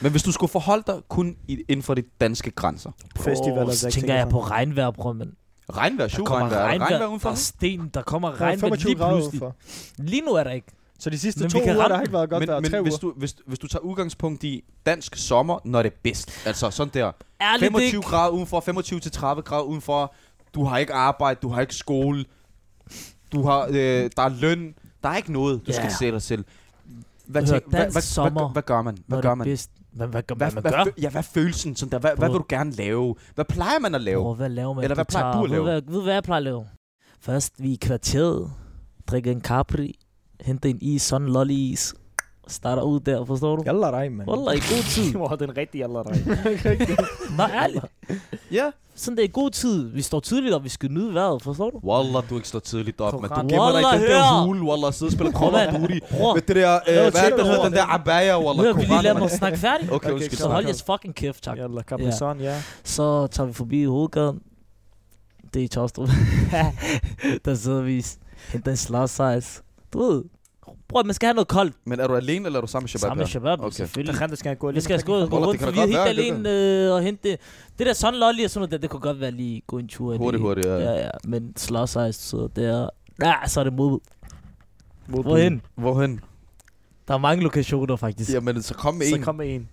[SPEAKER 3] Men hvis du skulle forholde dig kun i, inden for de danske grænser.
[SPEAKER 2] Bro,
[SPEAKER 1] Festivaler,
[SPEAKER 2] så
[SPEAKER 1] der
[SPEAKER 2] tænker jeg på regnvejr, bro, men
[SPEAKER 3] Regnvejr,
[SPEAKER 2] der
[SPEAKER 3] sju
[SPEAKER 2] kommer
[SPEAKER 3] regnvejr. Er der
[SPEAKER 2] regnvejr,
[SPEAKER 3] Regnvejr
[SPEAKER 2] der
[SPEAKER 3] udenfor?
[SPEAKER 2] er sten, der kommer
[SPEAKER 5] Der er
[SPEAKER 2] regnvejr
[SPEAKER 5] 25
[SPEAKER 2] lige
[SPEAKER 5] grader
[SPEAKER 2] pludselig.
[SPEAKER 5] udenfor.
[SPEAKER 2] Lige nu er der ikke.
[SPEAKER 5] Så de sidste
[SPEAKER 2] Men
[SPEAKER 5] men to
[SPEAKER 2] vi kan
[SPEAKER 5] uger,
[SPEAKER 2] ramme
[SPEAKER 5] der har ikke været godt
[SPEAKER 3] men,
[SPEAKER 5] vejr. Tre
[SPEAKER 3] men hvis,
[SPEAKER 5] uger.
[SPEAKER 3] du, hvis, hvis du tager udgangspunkt i dansk sommer, når det er bedst. Altså sådan der.
[SPEAKER 2] Ærligt, det
[SPEAKER 3] 25
[SPEAKER 2] ikke.
[SPEAKER 3] grader udenfor, 25 til 30 grader udenfor. Du har ikke arbejde, du har ikke skole. Du har, øh, der er løn. Der er ikke noget, du
[SPEAKER 2] Ja.
[SPEAKER 3] skal se dig selv. Hvad,
[SPEAKER 2] Hør,
[SPEAKER 3] tænk- hvad, hvad,
[SPEAKER 2] dansk
[SPEAKER 3] hvad,
[SPEAKER 2] sommer,
[SPEAKER 3] hvad, hvad gør man?
[SPEAKER 2] Når
[SPEAKER 3] Hvad
[SPEAKER 2] det
[SPEAKER 3] gør
[SPEAKER 2] er
[SPEAKER 3] man?
[SPEAKER 2] bedst. Hvad, hvad gør
[SPEAKER 3] Hvad,
[SPEAKER 2] man?
[SPEAKER 3] hvad,
[SPEAKER 2] man gør?
[SPEAKER 3] hvad, ja, hvad er følelsen sådan der? Hvad, hvad
[SPEAKER 2] Bror.
[SPEAKER 3] vil du gerne lave? Hvad plejer man at lave?
[SPEAKER 2] Bror, hvad laver man?
[SPEAKER 3] Eller hvad plejer du at lave?
[SPEAKER 2] Ved, hvad, ved hvad jeg plejer at lave? Først vi er i kvarteret, drikker en Capri, henter en is, sådan en lolly is, starter ud der, forstår du?
[SPEAKER 5] Jalla dig, mand.
[SPEAKER 2] Wallah, i god tid.
[SPEAKER 1] Wow, den rigtige alder, dig.
[SPEAKER 2] Nej, ærligt.
[SPEAKER 3] Ja.
[SPEAKER 2] Sådan det er i god tid. Vi står tidligt op, vi skal nyde vejret, forstår du?
[SPEAKER 3] Wallah, du ikke står tidligt op, men du
[SPEAKER 2] Koran.
[SPEAKER 3] gemmer dig i
[SPEAKER 2] Wallah,
[SPEAKER 3] den der
[SPEAKER 2] hør!
[SPEAKER 3] hule, Wallah, sidder og spiller
[SPEAKER 2] Bror,
[SPEAKER 3] Call
[SPEAKER 2] mand.
[SPEAKER 3] of Duty.
[SPEAKER 2] Bror,
[SPEAKER 3] Med det der, øh, hvad er det,
[SPEAKER 5] tjekker
[SPEAKER 3] den hedder,
[SPEAKER 5] over.
[SPEAKER 3] den der abaya, Wallah,
[SPEAKER 2] hør, vi lige
[SPEAKER 3] Koran,
[SPEAKER 2] lader mig
[SPEAKER 3] mand.
[SPEAKER 2] snakke færdig.
[SPEAKER 3] Okay,
[SPEAKER 1] Okay,
[SPEAKER 3] undskyld.
[SPEAKER 2] Så
[SPEAKER 1] så
[SPEAKER 2] hold
[SPEAKER 1] kom.
[SPEAKER 2] jeres fucking kæft, tak.
[SPEAKER 1] Jalla, Capri-Sun, ja.
[SPEAKER 2] Så tager vi forbi hovedgaden. Det er i Tostrup. der sidder vi, henter en slagsize. Du ved, bror, man skal have noget koldt.
[SPEAKER 3] Men er du alene, eller er du sammen med Shabab?
[SPEAKER 2] Sammen med
[SPEAKER 3] her?
[SPEAKER 2] Shabab,
[SPEAKER 3] Okay.
[SPEAKER 2] okay.
[SPEAKER 1] Der
[SPEAKER 2] selvfølgelig.
[SPEAKER 1] kan det skal han gå
[SPEAKER 2] Vi
[SPEAKER 1] lige.
[SPEAKER 2] skal sgu gå
[SPEAKER 3] Wallah,
[SPEAKER 2] rundt,
[SPEAKER 3] det kan
[SPEAKER 2] for
[SPEAKER 3] da
[SPEAKER 2] vi er
[SPEAKER 3] godt
[SPEAKER 2] helt
[SPEAKER 3] være, det
[SPEAKER 2] alene øh, og hente... Det der sådan lolly og sådan noget der, det kunne godt være lige gå en tur.
[SPEAKER 3] Hurtigt,
[SPEAKER 2] lige.
[SPEAKER 3] hurtigt, ja.
[SPEAKER 2] Ja, ja, men slagsize sidder der. Ja, så er det mod. Hvorhen?
[SPEAKER 3] Hvorhen?
[SPEAKER 2] Der er mange lokationer, faktisk. Yep.
[SPEAKER 3] Jamen, så kom med
[SPEAKER 1] Så
[SPEAKER 3] en.
[SPEAKER 1] kom med en.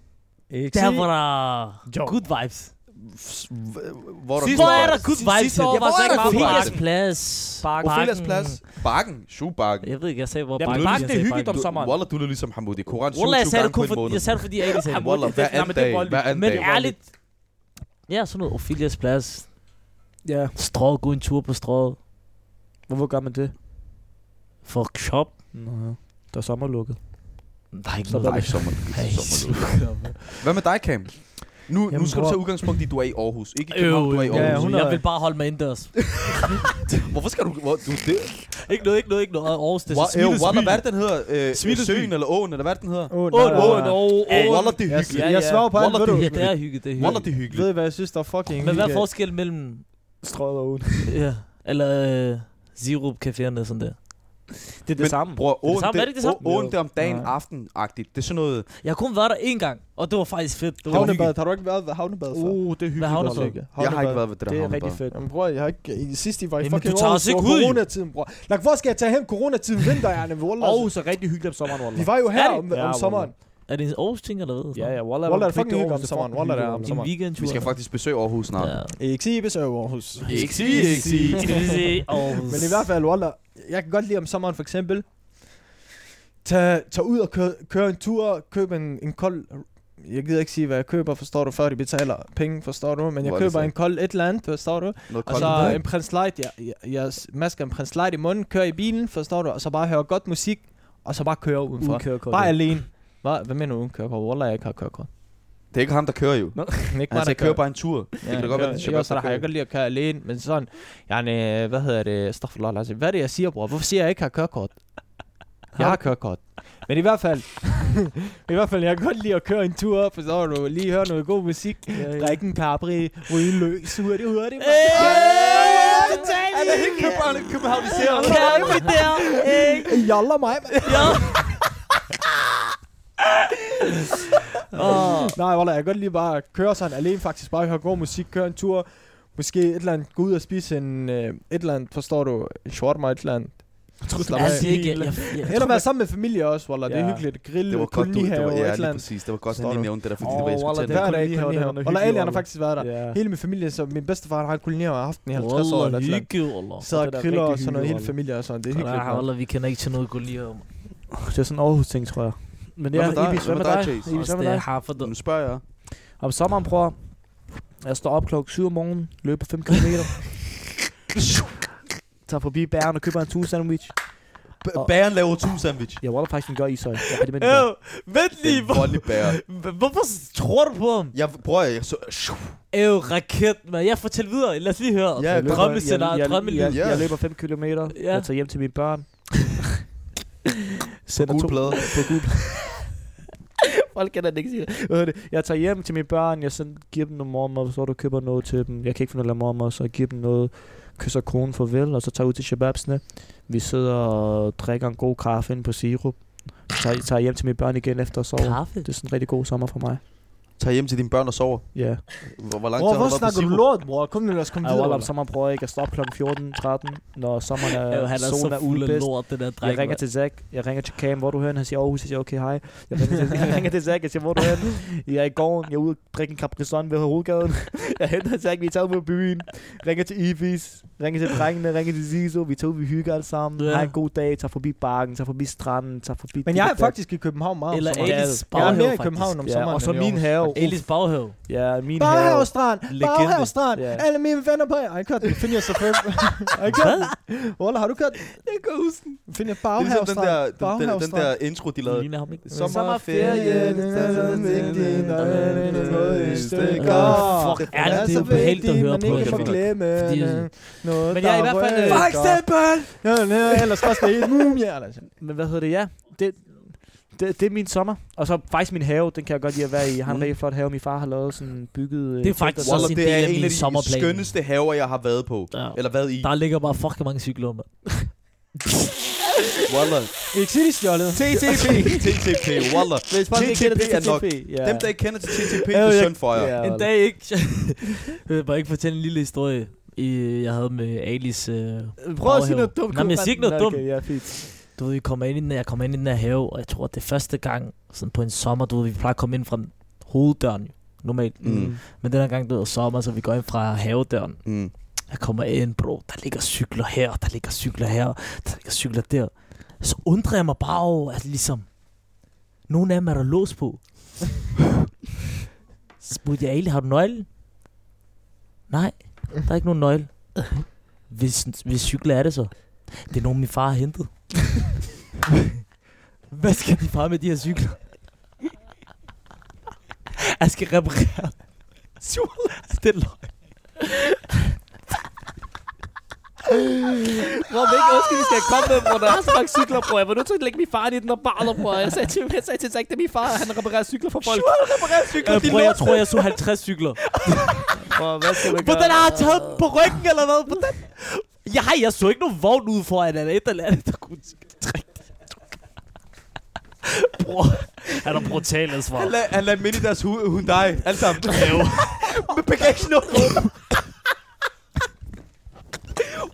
[SPEAKER 5] Ikke
[SPEAKER 2] Der
[SPEAKER 5] sige-
[SPEAKER 2] var der
[SPEAKER 1] Jo.
[SPEAKER 2] good vibes.
[SPEAKER 3] Hvor
[SPEAKER 2] Sidste hvor er der good vibes? Sidste år var
[SPEAKER 3] Ja, hvor
[SPEAKER 2] så
[SPEAKER 3] er
[SPEAKER 2] ikke
[SPEAKER 3] der good
[SPEAKER 2] Ophelias
[SPEAKER 3] vibes?
[SPEAKER 2] plads.
[SPEAKER 1] Parken.
[SPEAKER 3] Ophelias plads. Bakken. Schubakken.
[SPEAKER 2] Jeg ved ikke, jeg sagde, hvor
[SPEAKER 1] Ja,
[SPEAKER 2] Bakken-
[SPEAKER 1] men Bakken,
[SPEAKER 2] jeg
[SPEAKER 1] det er
[SPEAKER 2] sagde
[SPEAKER 1] hyggeligt
[SPEAKER 2] Bakken.
[SPEAKER 1] om sommeren.
[SPEAKER 3] Wallah, du lyder ligesom Hamoudi Koran 27
[SPEAKER 2] Wallah, jeg sagde
[SPEAKER 3] gange
[SPEAKER 2] det
[SPEAKER 3] på
[SPEAKER 2] kun
[SPEAKER 3] en
[SPEAKER 2] for,
[SPEAKER 3] måned.
[SPEAKER 2] jeg sagde det, fordi jeg ikke sagde det.
[SPEAKER 3] Wallah, hver
[SPEAKER 1] Nej, men
[SPEAKER 3] anden
[SPEAKER 1] det er
[SPEAKER 3] dag.
[SPEAKER 1] voldeligt.
[SPEAKER 3] Hver anden
[SPEAKER 2] Men
[SPEAKER 3] dag.
[SPEAKER 2] ærligt, ja, sådan noget Ophelias plads.
[SPEAKER 1] Ja.
[SPEAKER 2] Strået, gå en tur på strået.
[SPEAKER 1] Hvorfor gør man det?
[SPEAKER 2] Fuck shop.
[SPEAKER 1] Nå, der er sommerlukket.
[SPEAKER 2] Der er ikke
[SPEAKER 1] Så
[SPEAKER 2] noget.
[SPEAKER 3] Nej, sommer.
[SPEAKER 2] Ej,
[SPEAKER 3] sommer-
[SPEAKER 2] super.
[SPEAKER 3] Hvad med dig, Cam? Nu, nu
[SPEAKER 5] Jamen,
[SPEAKER 3] skal du
[SPEAKER 5] bror.
[SPEAKER 3] tage udgangspunkt i, at du er i Aarhus. Ikke i
[SPEAKER 2] Øv,
[SPEAKER 3] København, du er i
[SPEAKER 5] ja,
[SPEAKER 3] Aarhus.
[SPEAKER 5] hun
[SPEAKER 2] jeg
[SPEAKER 5] er-
[SPEAKER 2] vil bare holde mig indendørs.
[SPEAKER 3] Hvorfor skal du... Hvor, du det,
[SPEAKER 2] ikke noget, ikke noget, ikke noget. Aarhus, det er
[SPEAKER 3] Hvor,
[SPEAKER 2] så
[SPEAKER 3] øh,
[SPEAKER 2] smidt.
[SPEAKER 3] Wallah, hvad er det, den hedder? Øh,
[SPEAKER 2] Svineskyd.
[SPEAKER 3] Søen eller åen, eller hvad er det, den hedder?
[SPEAKER 5] Åh,
[SPEAKER 2] Åh,
[SPEAKER 5] nej, nej,
[SPEAKER 2] åh,
[SPEAKER 5] nej.
[SPEAKER 2] åh,
[SPEAKER 3] Åh,
[SPEAKER 2] åh.
[SPEAKER 3] Wallah, det er
[SPEAKER 5] Jeg,
[SPEAKER 3] hyggeligt.
[SPEAKER 2] Ja,
[SPEAKER 5] jeg
[SPEAKER 2] ja.
[SPEAKER 5] svarer på alt,
[SPEAKER 3] Wallah,
[SPEAKER 5] ved du?
[SPEAKER 3] det
[SPEAKER 2] Ja, det er hyggeligt, det er hyggeligt.
[SPEAKER 3] Wallah, det er
[SPEAKER 5] Ved
[SPEAKER 3] hyggeligt.
[SPEAKER 5] I, hvad jeg synes, der er fucking
[SPEAKER 2] Men hvad er
[SPEAKER 5] hyggeligt?
[SPEAKER 2] forskellen mellem...
[SPEAKER 5] Strøget og uden.
[SPEAKER 2] Ja, eller øh, Zirup-caféerne og sådan der?
[SPEAKER 1] Det er det samme.
[SPEAKER 3] Bror, åen,
[SPEAKER 2] samme? Er det ikke det samme?
[SPEAKER 3] Å- åen, det er om dagen,
[SPEAKER 5] Nej.
[SPEAKER 3] aften-agtigt. Det er sådan noget...
[SPEAKER 2] Jeg har kun været der én gang, og det var faktisk fedt. Det var
[SPEAKER 5] Havnebad. Har du ikke været ved havnebad før?
[SPEAKER 1] Uh, det er
[SPEAKER 2] Hvad
[SPEAKER 1] hyggeligt.
[SPEAKER 2] havner
[SPEAKER 5] Har
[SPEAKER 2] du?
[SPEAKER 5] du ikke?
[SPEAKER 3] Jeg har ikke
[SPEAKER 5] Havnebad.
[SPEAKER 3] været ved det der
[SPEAKER 1] Det er
[SPEAKER 3] havnebad.
[SPEAKER 1] rigtig fedt.
[SPEAKER 5] Jamen bror, jeg har ikke... I, sidst I var i
[SPEAKER 2] Jamen,
[SPEAKER 5] fucking
[SPEAKER 2] du tager os
[SPEAKER 5] Aarhus,
[SPEAKER 2] ikke
[SPEAKER 5] det var
[SPEAKER 2] ud, jo.
[SPEAKER 5] coronatiden, bror. Lad, hvor skal jeg tage hen coronatiden vinterhjerne, Wallah?
[SPEAKER 1] Og så rigtig hyggeligt om sommeren, Wallah.
[SPEAKER 5] Vi var jo
[SPEAKER 2] Er
[SPEAKER 5] her
[SPEAKER 2] det?
[SPEAKER 5] om,
[SPEAKER 1] Ja,
[SPEAKER 5] om
[SPEAKER 1] Wallah.
[SPEAKER 5] sommeren.
[SPEAKER 2] Er det en Aarhus ting eller hvad?
[SPEAKER 1] Ja, ja, Wallah.
[SPEAKER 5] Wallah,
[SPEAKER 1] var
[SPEAKER 5] det er fucking
[SPEAKER 1] rigtig
[SPEAKER 5] hyggeligt om
[SPEAKER 1] Aarhus,
[SPEAKER 5] sommeren.
[SPEAKER 1] fucking
[SPEAKER 5] Wallah, det er om
[SPEAKER 1] hyggeligt,
[SPEAKER 2] Din
[SPEAKER 5] sommeren.
[SPEAKER 2] weekendtur.
[SPEAKER 3] Vi skal faktisk besøge Aarhus snart.
[SPEAKER 2] Ja.
[SPEAKER 5] Ikke sige, hvis jeg er i Aarhus.
[SPEAKER 3] Ikke sige, ikke sige.
[SPEAKER 2] Skal vi se Aarhus?
[SPEAKER 5] Men i hvert fald, Wallah, jeg kan godt lide om sommeren for eksempel, tage, tage ud og køre, køre en tur, købe en, en kold... Jeg gider ikke sige, hvad jeg køber, forstår du, før de betaler penge, forstår du? Men jeg
[SPEAKER 3] Hvor er det
[SPEAKER 5] køber
[SPEAKER 3] så?
[SPEAKER 5] en kold et eller andet, forstår du?
[SPEAKER 3] Noget
[SPEAKER 5] Og
[SPEAKER 3] koldt.
[SPEAKER 5] så øh,
[SPEAKER 3] vand.
[SPEAKER 5] Altså, en prins light, jeg, jeg, jeg masker en prins light i munden, kører i bilen, forstår du? Og så bare høre godt musik, og så bare køre udenfor.
[SPEAKER 1] Uden kørekort.
[SPEAKER 5] Bare alene. Hvad, hvad mener du uden kørekort? Wallah, jeg ikke har kørekort.
[SPEAKER 3] Det er ikke ham, der kører jo.
[SPEAKER 5] Men ikke mig,
[SPEAKER 3] Altså,
[SPEAKER 5] der
[SPEAKER 3] jeg kører bare en tur. Det
[SPEAKER 5] Ja,
[SPEAKER 3] kan da godt være, det er
[SPEAKER 5] jeg,
[SPEAKER 3] Shabab,
[SPEAKER 5] så
[SPEAKER 3] der
[SPEAKER 5] der har jeg
[SPEAKER 3] kører.
[SPEAKER 5] godt lige at køre alene, men sådan, jeg, øh, hvad hedder det, astaghfirullah, Lazim. hvad er det, jeg siger, bror? Hvorfor siger jeg, jeg ikke har kørekort? Jeg har kørekort. Men i hvert fald, i hvert fald, jeg kan godt lide at køre en tur, for så du lige høre noget god musik, drikke en capri, ryge en løs, hurtigt, hurtigt. mand.
[SPEAKER 3] Er det helt køberne københavniserede?
[SPEAKER 2] Kan vi der? Ikke?
[SPEAKER 5] Ej, Joller mig, mand.
[SPEAKER 2] Ja.
[SPEAKER 5] Nej, Walla, jeg kan godt lige bare at køre sådan alene faktisk, bare høre god musik, køre en tur, måske et eller andet, gå ud og spise en, øh, et eller andet, forstår du, en shawarma, et eller andet. Slap af.
[SPEAKER 2] Altså, det er ikke... Jeg, jeg,
[SPEAKER 5] Eller være sammen med familie også, Wallah. Det
[SPEAKER 1] Ja.
[SPEAKER 5] er hyggeligt. Grille,
[SPEAKER 3] Det var godt, du, det
[SPEAKER 5] kolonihave,
[SPEAKER 3] var,
[SPEAKER 5] et
[SPEAKER 3] ja,
[SPEAKER 5] eller
[SPEAKER 3] lige
[SPEAKER 5] andet.
[SPEAKER 3] præcis. Det var godt, han
[SPEAKER 5] Står
[SPEAKER 3] lige
[SPEAKER 5] du?
[SPEAKER 3] nævnte det der, fordi det
[SPEAKER 1] Åh,
[SPEAKER 3] var, jeg skulle
[SPEAKER 1] Wallah,
[SPEAKER 3] tænde.
[SPEAKER 1] den
[SPEAKER 5] Hver dag
[SPEAKER 1] kolonihave, den er
[SPEAKER 5] kolonihave.
[SPEAKER 1] noget
[SPEAKER 5] Wallah, Ali,
[SPEAKER 1] hyggeligt,
[SPEAKER 5] han har faktisk været der.
[SPEAKER 1] Ja.
[SPEAKER 5] Hele min familie, så min bedstefar, han har en kolonihave, og har haft den i 50 år.
[SPEAKER 2] Wallah,
[SPEAKER 5] Eller sådan.
[SPEAKER 2] hygge, Wallah.
[SPEAKER 5] Så
[SPEAKER 1] Det er da
[SPEAKER 5] og kriller
[SPEAKER 1] rigtig
[SPEAKER 5] og sådan noget, hele
[SPEAKER 1] hyggeligt,
[SPEAKER 5] familie og sådan. Det er hyggeligt.
[SPEAKER 2] Nej, Wallah, vi kender ikke til noget, gå lige om.
[SPEAKER 1] Det er sådan en Aarhus-ting, tror jeg. Men
[SPEAKER 3] Hvad
[SPEAKER 1] ja,
[SPEAKER 3] med dig?
[SPEAKER 1] Ibis, hvad med dig?
[SPEAKER 3] Chase?
[SPEAKER 1] Ibis,
[SPEAKER 2] Også
[SPEAKER 1] hvad
[SPEAKER 2] det
[SPEAKER 1] med dig?
[SPEAKER 2] jeg har for det.
[SPEAKER 3] Nu spørger jeg.
[SPEAKER 1] Om sommeren, bror. Jeg står op klokken 7 om morgenen, løber 5 km. tager forbi bæren og køber en tun sandwich.
[SPEAKER 3] B- Bæren laver tun sandwich.
[SPEAKER 1] Jeg var faktisk en gør isøj. Jeg er det med den
[SPEAKER 2] Øh,
[SPEAKER 1] gør.
[SPEAKER 2] vent
[SPEAKER 3] Den
[SPEAKER 2] lige, hvor-
[SPEAKER 3] voldelig bærer.
[SPEAKER 2] hvor- hvorfor tror du på ham?
[SPEAKER 3] Jeg prøver, jeg så...
[SPEAKER 2] Øv, raket, mand. Jeg fortæl videre. Lad os lige høre.
[SPEAKER 3] Ja,
[SPEAKER 1] Jeg løber-
[SPEAKER 2] Drømmescenarie,
[SPEAKER 1] jeg- jeg-
[SPEAKER 2] drømmeliv.
[SPEAKER 1] jeg-
[SPEAKER 3] Ja.
[SPEAKER 1] Jeg løber 5 km.
[SPEAKER 2] Ja.
[SPEAKER 1] Jeg tager hjem til mine børn. Sender
[SPEAKER 3] gule
[SPEAKER 1] to-
[SPEAKER 3] plader.
[SPEAKER 1] På gule Folk kan da ikke sige det. Hvad hedder det. Jeg tager hjem til mine børn, jeg sender, giver dem noget morgenmad, så du køber noget til dem. Jeg kan ikke finde noget af morgenmad, så jeg giver dem noget, kysser konen farvel, og så tager jeg ud til shababsene. Vi sidder og drikker en god kaffe inde på sirup. Så tager, tager jeg hjem til mine børn igen efter at sove.
[SPEAKER 2] Kaffe?
[SPEAKER 1] Det er sådan en rigtig god sommer for mig.
[SPEAKER 3] Tag hjem til dine børn og sover.
[SPEAKER 1] Ja.
[SPEAKER 3] Hvor, hvor lang tid
[SPEAKER 5] Bror,
[SPEAKER 3] har du
[SPEAKER 5] hvor
[SPEAKER 3] været på
[SPEAKER 5] snakker du
[SPEAKER 3] Sibo?
[SPEAKER 5] lort, bror? Kom nu, lad os komme
[SPEAKER 1] Og
[SPEAKER 5] videre.
[SPEAKER 1] Wallab,
[SPEAKER 5] Wallab.
[SPEAKER 1] sommeren prøver ikke at stoppe kl. 14.13, når sommeren er,
[SPEAKER 2] Ja, han er
[SPEAKER 1] solen er
[SPEAKER 2] så fuld af
[SPEAKER 1] udbedst.
[SPEAKER 2] lort, den der dreng.
[SPEAKER 1] Jeg ringer
[SPEAKER 2] mand.
[SPEAKER 1] til Zack, jeg ringer til Cam, hvor er du hører, han siger Aarhus, jeg siger, okay, hej. Jeg ringer til, jeg ringer til Zack, jeg siger, hvor er du hører, jeg er i gården, jeg er ude og drikke en Capri Sun ved hovedgaden. Jeg henter Zack, vi tager ud på byen, ringer til Ibis, ringer til drengene, ringer til Zizo, vi tager ud, vi hygger alle sammen,
[SPEAKER 2] Ja.
[SPEAKER 1] har en god dag, tager forbi barken, tager forbi stranden, tager forbi...
[SPEAKER 5] Men
[SPEAKER 1] dit
[SPEAKER 5] jeg
[SPEAKER 1] og
[SPEAKER 5] er
[SPEAKER 1] dat.
[SPEAKER 5] faktisk i København meget om
[SPEAKER 2] Eller
[SPEAKER 5] sommeren.
[SPEAKER 2] Elis
[SPEAKER 5] Jeg er
[SPEAKER 2] Baghave,
[SPEAKER 5] mere i
[SPEAKER 2] faktisk.
[SPEAKER 5] København om
[SPEAKER 1] Ja,
[SPEAKER 5] sommeren.
[SPEAKER 1] og så
[SPEAKER 5] end i
[SPEAKER 1] min
[SPEAKER 5] Aarhus.
[SPEAKER 1] have.
[SPEAKER 2] Elis baghave.
[SPEAKER 1] Ja, min
[SPEAKER 5] Baghave
[SPEAKER 1] have.
[SPEAKER 5] Strand!
[SPEAKER 2] Legende.
[SPEAKER 5] Baghave Strand!
[SPEAKER 1] Ja.
[SPEAKER 5] Alle mine venner på... Ej, kørt den. Find jeg så først. Ej, kørt den. Walla, har du kørt den?
[SPEAKER 2] Jeg kan huske den.
[SPEAKER 5] Find jeg
[SPEAKER 3] Det er
[SPEAKER 5] Baghave
[SPEAKER 3] ligesom den
[SPEAKER 5] Strand.
[SPEAKER 3] der, den, den, den
[SPEAKER 5] Baghavestrand.
[SPEAKER 3] der intro, de lavede.
[SPEAKER 2] Ligner ham ikke.
[SPEAKER 3] Sommerferie, det er sådan vigtigt, når den er gået i stykker.
[SPEAKER 2] Fuck, er det, det er ubehageligt at høre på.
[SPEAKER 5] altså, Man ikke må glemme øh,
[SPEAKER 2] Fordi-
[SPEAKER 5] noget,
[SPEAKER 2] Men jeg er i hvert fald, øh,
[SPEAKER 5] Fuck, step!
[SPEAKER 3] eksempel!
[SPEAKER 5] Nå, nå, ellers koster det et mumie, eller sådan.
[SPEAKER 1] Men hvad hedder det, ja? Det, det, det er min sommer. Og så faktisk min have, den kan jeg godt lide at være i. Jeg har en
[SPEAKER 3] Mm.
[SPEAKER 1] rigtig flot have, min far har lavet sådan bygget... øh,
[SPEAKER 2] Det er faktisk
[SPEAKER 1] felter-
[SPEAKER 2] også
[SPEAKER 3] Walla,
[SPEAKER 2] en
[SPEAKER 3] det
[SPEAKER 2] del
[SPEAKER 3] er
[SPEAKER 2] af
[SPEAKER 3] en
[SPEAKER 2] min
[SPEAKER 3] af de
[SPEAKER 2] sommerplan.
[SPEAKER 3] skønneste haver, jeg har været på.
[SPEAKER 2] Ja.
[SPEAKER 3] Eller været i.
[SPEAKER 2] Der ligger bare fucking mange cykler, mand.
[SPEAKER 3] Walla.
[SPEAKER 5] Ikke sige, de stjålet.
[SPEAKER 3] TTP. TTP. Walla.
[SPEAKER 1] Hvis folk ikke kender
[SPEAKER 3] TTP
[SPEAKER 1] det
[SPEAKER 3] er nok.
[SPEAKER 1] TTP, ja.
[SPEAKER 3] Dem, der ikke kender til TTP,
[SPEAKER 1] Ja,
[SPEAKER 3] det er
[SPEAKER 1] jeg-
[SPEAKER 3] synd for
[SPEAKER 1] Ja,
[SPEAKER 3] jer.
[SPEAKER 2] En dag ikke. jeg vil bare ikke fortælle en lille historie, i, jeg havde med Alice. Øh,
[SPEAKER 1] Prøv at sige
[SPEAKER 2] baghave.
[SPEAKER 1] noget dumt.
[SPEAKER 2] Nej, men jeg siger ikke noget dumt.
[SPEAKER 1] Okay, ja, fint.
[SPEAKER 2] Du ved, vi kommer ind i den, her- jeg kommer ind i den her have, og jeg tror, det er første gang sådan på en sommer, du ved, vi plejer at komme ind fra hoveddøren jo, normalt.
[SPEAKER 3] Mm.
[SPEAKER 2] Men den her gang, du ved, sommer, så vi går ind fra havedøren.
[SPEAKER 3] Mm.
[SPEAKER 2] Jeg kommer ind, bro, der ligger cykler her, der ligger cykler her, der ligger cykler der. Så undrer jeg mig bare over, at ligesom, nogle af dem er der lås på. så spurgte jeg Ali, har du nøgle? Nej, der er ikke nogen nøgle. Hvis, hvis cykler er det så? Det er nogen, min far har hentet. Hvad skal de far med de her cykler? Jeg skal reparere. Det er løgn.
[SPEAKER 1] Bror, hvilke undskyld skal jeg komme med, bror? Der er så mange cykler, bror. Jeg var nødt til at lægge min far i den der barler, bror. Jeg sagde til, jeg sagde til Zach, det er min far, han reparerer cykler for folk.
[SPEAKER 2] Jeg, bror, jeg tror, jeg så 50 cykler.
[SPEAKER 1] Bror, hvad skal man
[SPEAKER 2] Hvordan har han taget den på ryggen, eller hvad? Hvordan? Ja, jeg så ikke nogen vogn ude foran, eller et eller andet, der kunne trække det. Bror, han er brutal, altså.
[SPEAKER 3] Han lagde, han lagde midt i deres hu- Hyundai. Alle sammen. Med bagagen åben.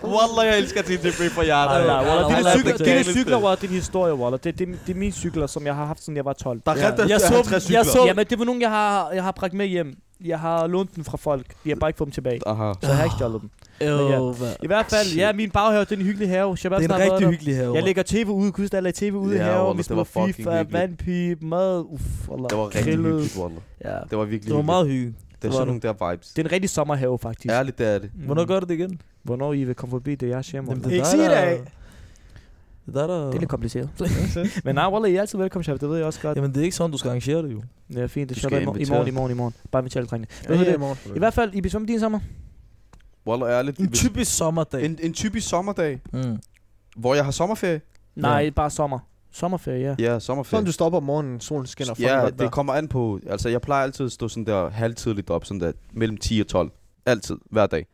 [SPEAKER 3] Wallah, jeg elsker TTP for jer.
[SPEAKER 2] Ej, nej, wallah,
[SPEAKER 1] Dine
[SPEAKER 2] Wallah,
[SPEAKER 1] cykler,
[SPEAKER 2] det
[SPEAKER 1] dine
[SPEAKER 2] er
[SPEAKER 1] cykler, bror, din historie, bror. Det, det, det, er mine cykler, som jeg har haft, siden jeg var 12.
[SPEAKER 3] Der er rent
[SPEAKER 2] Jeg så,
[SPEAKER 3] 50
[SPEAKER 2] jeg
[SPEAKER 3] cykler.
[SPEAKER 2] så,
[SPEAKER 1] Jamen, det var nogen, jeg har, jeg har bragt med hjem. Jeg har lånt den fra folk. Jeg har bare ikke fået dem tilbage.
[SPEAKER 3] Aha.
[SPEAKER 1] Så jeg har ikke stjålet dem.
[SPEAKER 2] jo, hvad?
[SPEAKER 1] I hvert fald, ja, min baghave, det er en hyggelig have. Shabazz har været der.
[SPEAKER 2] hyggelig have.
[SPEAKER 1] Jeg lægger tv ude, kunne der lagde tv ude
[SPEAKER 3] Ja,
[SPEAKER 1] i haven.
[SPEAKER 3] Wallah,
[SPEAKER 1] Vi
[SPEAKER 3] det
[SPEAKER 1] spiller
[SPEAKER 3] var fucking
[SPEAKER 1] FIFA,
[SPEAKER 3] hyggeligt.
[SPEAKER 1] vandpip, mad. Uff, Wallah.
[SPEAKER 3] Det var rigtig
[SPEAKER 1] Grillet.
[SPEAKER 3] hyggeligt, Wallah.
[SPEAKER 1] Ja.
[SPEAKER 3] Det var virkelig
[SPEAKER 2] Det var meget hyggeligt.
[SPEAKER 3] Det er
[SPEAKER 1] var
[SPEAKER 3] sådan nogle der vibes.
[SPEAKER 1] Det er en rigtig sommerhave, faktisk.
[SPEAKER 3] Ærligt, det er det.
[SPEAKER 1] Mm.
[SPEAKER 2] Hvornår gør du det igen?
[SPEAKER 1] Hvornår I vil komme forbi, det er jeres hjem. Wallah.
[SPEAKER 5] det- Ikke sige det, af.
[SPEAKER 2] Det er der, der...
[SPEAKER 1] Det er lidt kompliceret. Men nej, Wallah, I er altid velkommen, chef. Det ved jeg også godt.
[SPEAKER 2] Jamen, det er ikke sådan, du skal arrangere det, jo.
[SPEAKER 1] Det er fint. Det
[SPEAKER 3] Du
[SPEAKER 1] er sjovt.
[SPEAKER 3] skal
[SPEAKER 1] I morgen, i
[SPEAKER 3] invitere.
[SPEAKER 1] morgen, i morgen, i morgen. Bare med tjaldrengene. Hvad
[SPEAKER 5] Ja,
[SPEAKER 1] hedder
[SPEAKER 5] ja, i
[SPEAKER 1] det?
[SPEAKER 5] morgen.
[SPEAKER 1] I hvert fald, I besøger din sommer.
[SPEAKER 3] Wallah, ærligt.
[SPEAKER 2] En
[SPEAKER 3] hvis-
[SPEAKER 2] typisk sommerdag.
[SPEAKER 3] en, en typisk sommerdag,
[SPEAKER 2] Mm.
[SPEAKER 3] hvor jeg har sommerferie.
[SPEAKER 1] Nej, bare sommer. Sommerferie, ja.
[SPEAKER 3] Ja, sommerferie.
[SPEAKER 5] Sådan du stopper om morgenen, solen skinner fucking
[SPEAKER 3] ja,
[SPEAKER 5] godt
[SPEAKER 3] det kommer an på. Altså, jeg plejer altid at stå sådan der halvtidligt op, sådan der mellem 10 og 12. Altid, hver dag.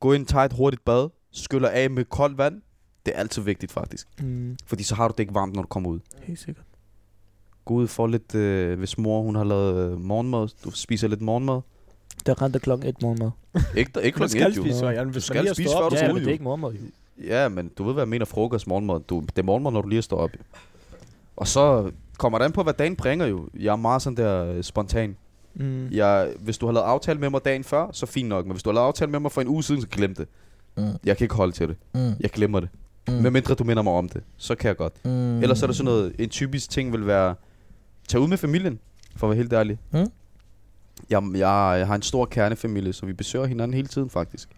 [SPEAKER 3] Gå ind, tager et hurtigt bad, skyller af med koldt vand. Det er altid vigtigt, faktisk.
[SPEAKER 1] Mm,
[SPEAKER 3] Fordi så har du det ikke varmt, når du kommer ud.
[SPEAKER 1] helt sikkert.
[SPEAKER 3] Gå ud for lidt, øh, hvis mor hun har lavet øh, morgenmad. Du spiser lidt morgenmad.
[SPEAKER 1] Der rente klokken et morgenmad.
[SPEAKER 3] Ikke, ikke
[SPEAKER 5] Man
[SPEAKER 3] klokken
[SPEAKER 5] skal
[SPEAKER 3] et, jo.
[SPEAKER 5] spise, så jeg vil
[SPEAKER 3] skal spise, før du
[SPEAKER 1] Ja,
[SPEAKER 3] skal
[SPEAKER 1] men
[SPEAKER 3] ud,
[SPEAKER 1] det
[SPEAKER 3] jo.
[SPEAKER 1] er ikke morgenmad, jo.
[SPEAKER 3] Ja, men du ved, hvad jeg mener frokost, morgenmad. Du, det er morgenmad, når du lige står op. jo. Og så kommer det an på, hvad dagen bringer jo. Jeg er meget sådan der øh, spontan.
[SPEAKER 1] Mm.
[SPEAKER 3] Jeg, hvis du har lavet aftale med mig dagen før, så fint nok. Men hvis du har lavet aftale med mig for en uge siden, så glem det.
[SPEAKER 2] Mm.
[SPEAKER 3] Jeg kan ikke holde til det.
[SPEAKER 2] Mm.
[SPEAKER 3] Jeg glemmer det. Mm.
[SPEAKER 2] Mm.
[SPEAKER 3] Medmindre du minder mig om det, så kan jeg godt.
[SPEAKER 2] Mm.
[SPEAKER 3] Mm. Ellers er der sådan noget, en typisk ting vil være, tag ud med familien, for at være helt ærlig.
[SPEAKER 2] Mm.
[SPEAKER 3] Jeg, jeg, jeg har en stor kernefamilie, så vi besøger hinanden hele tiden faktisk.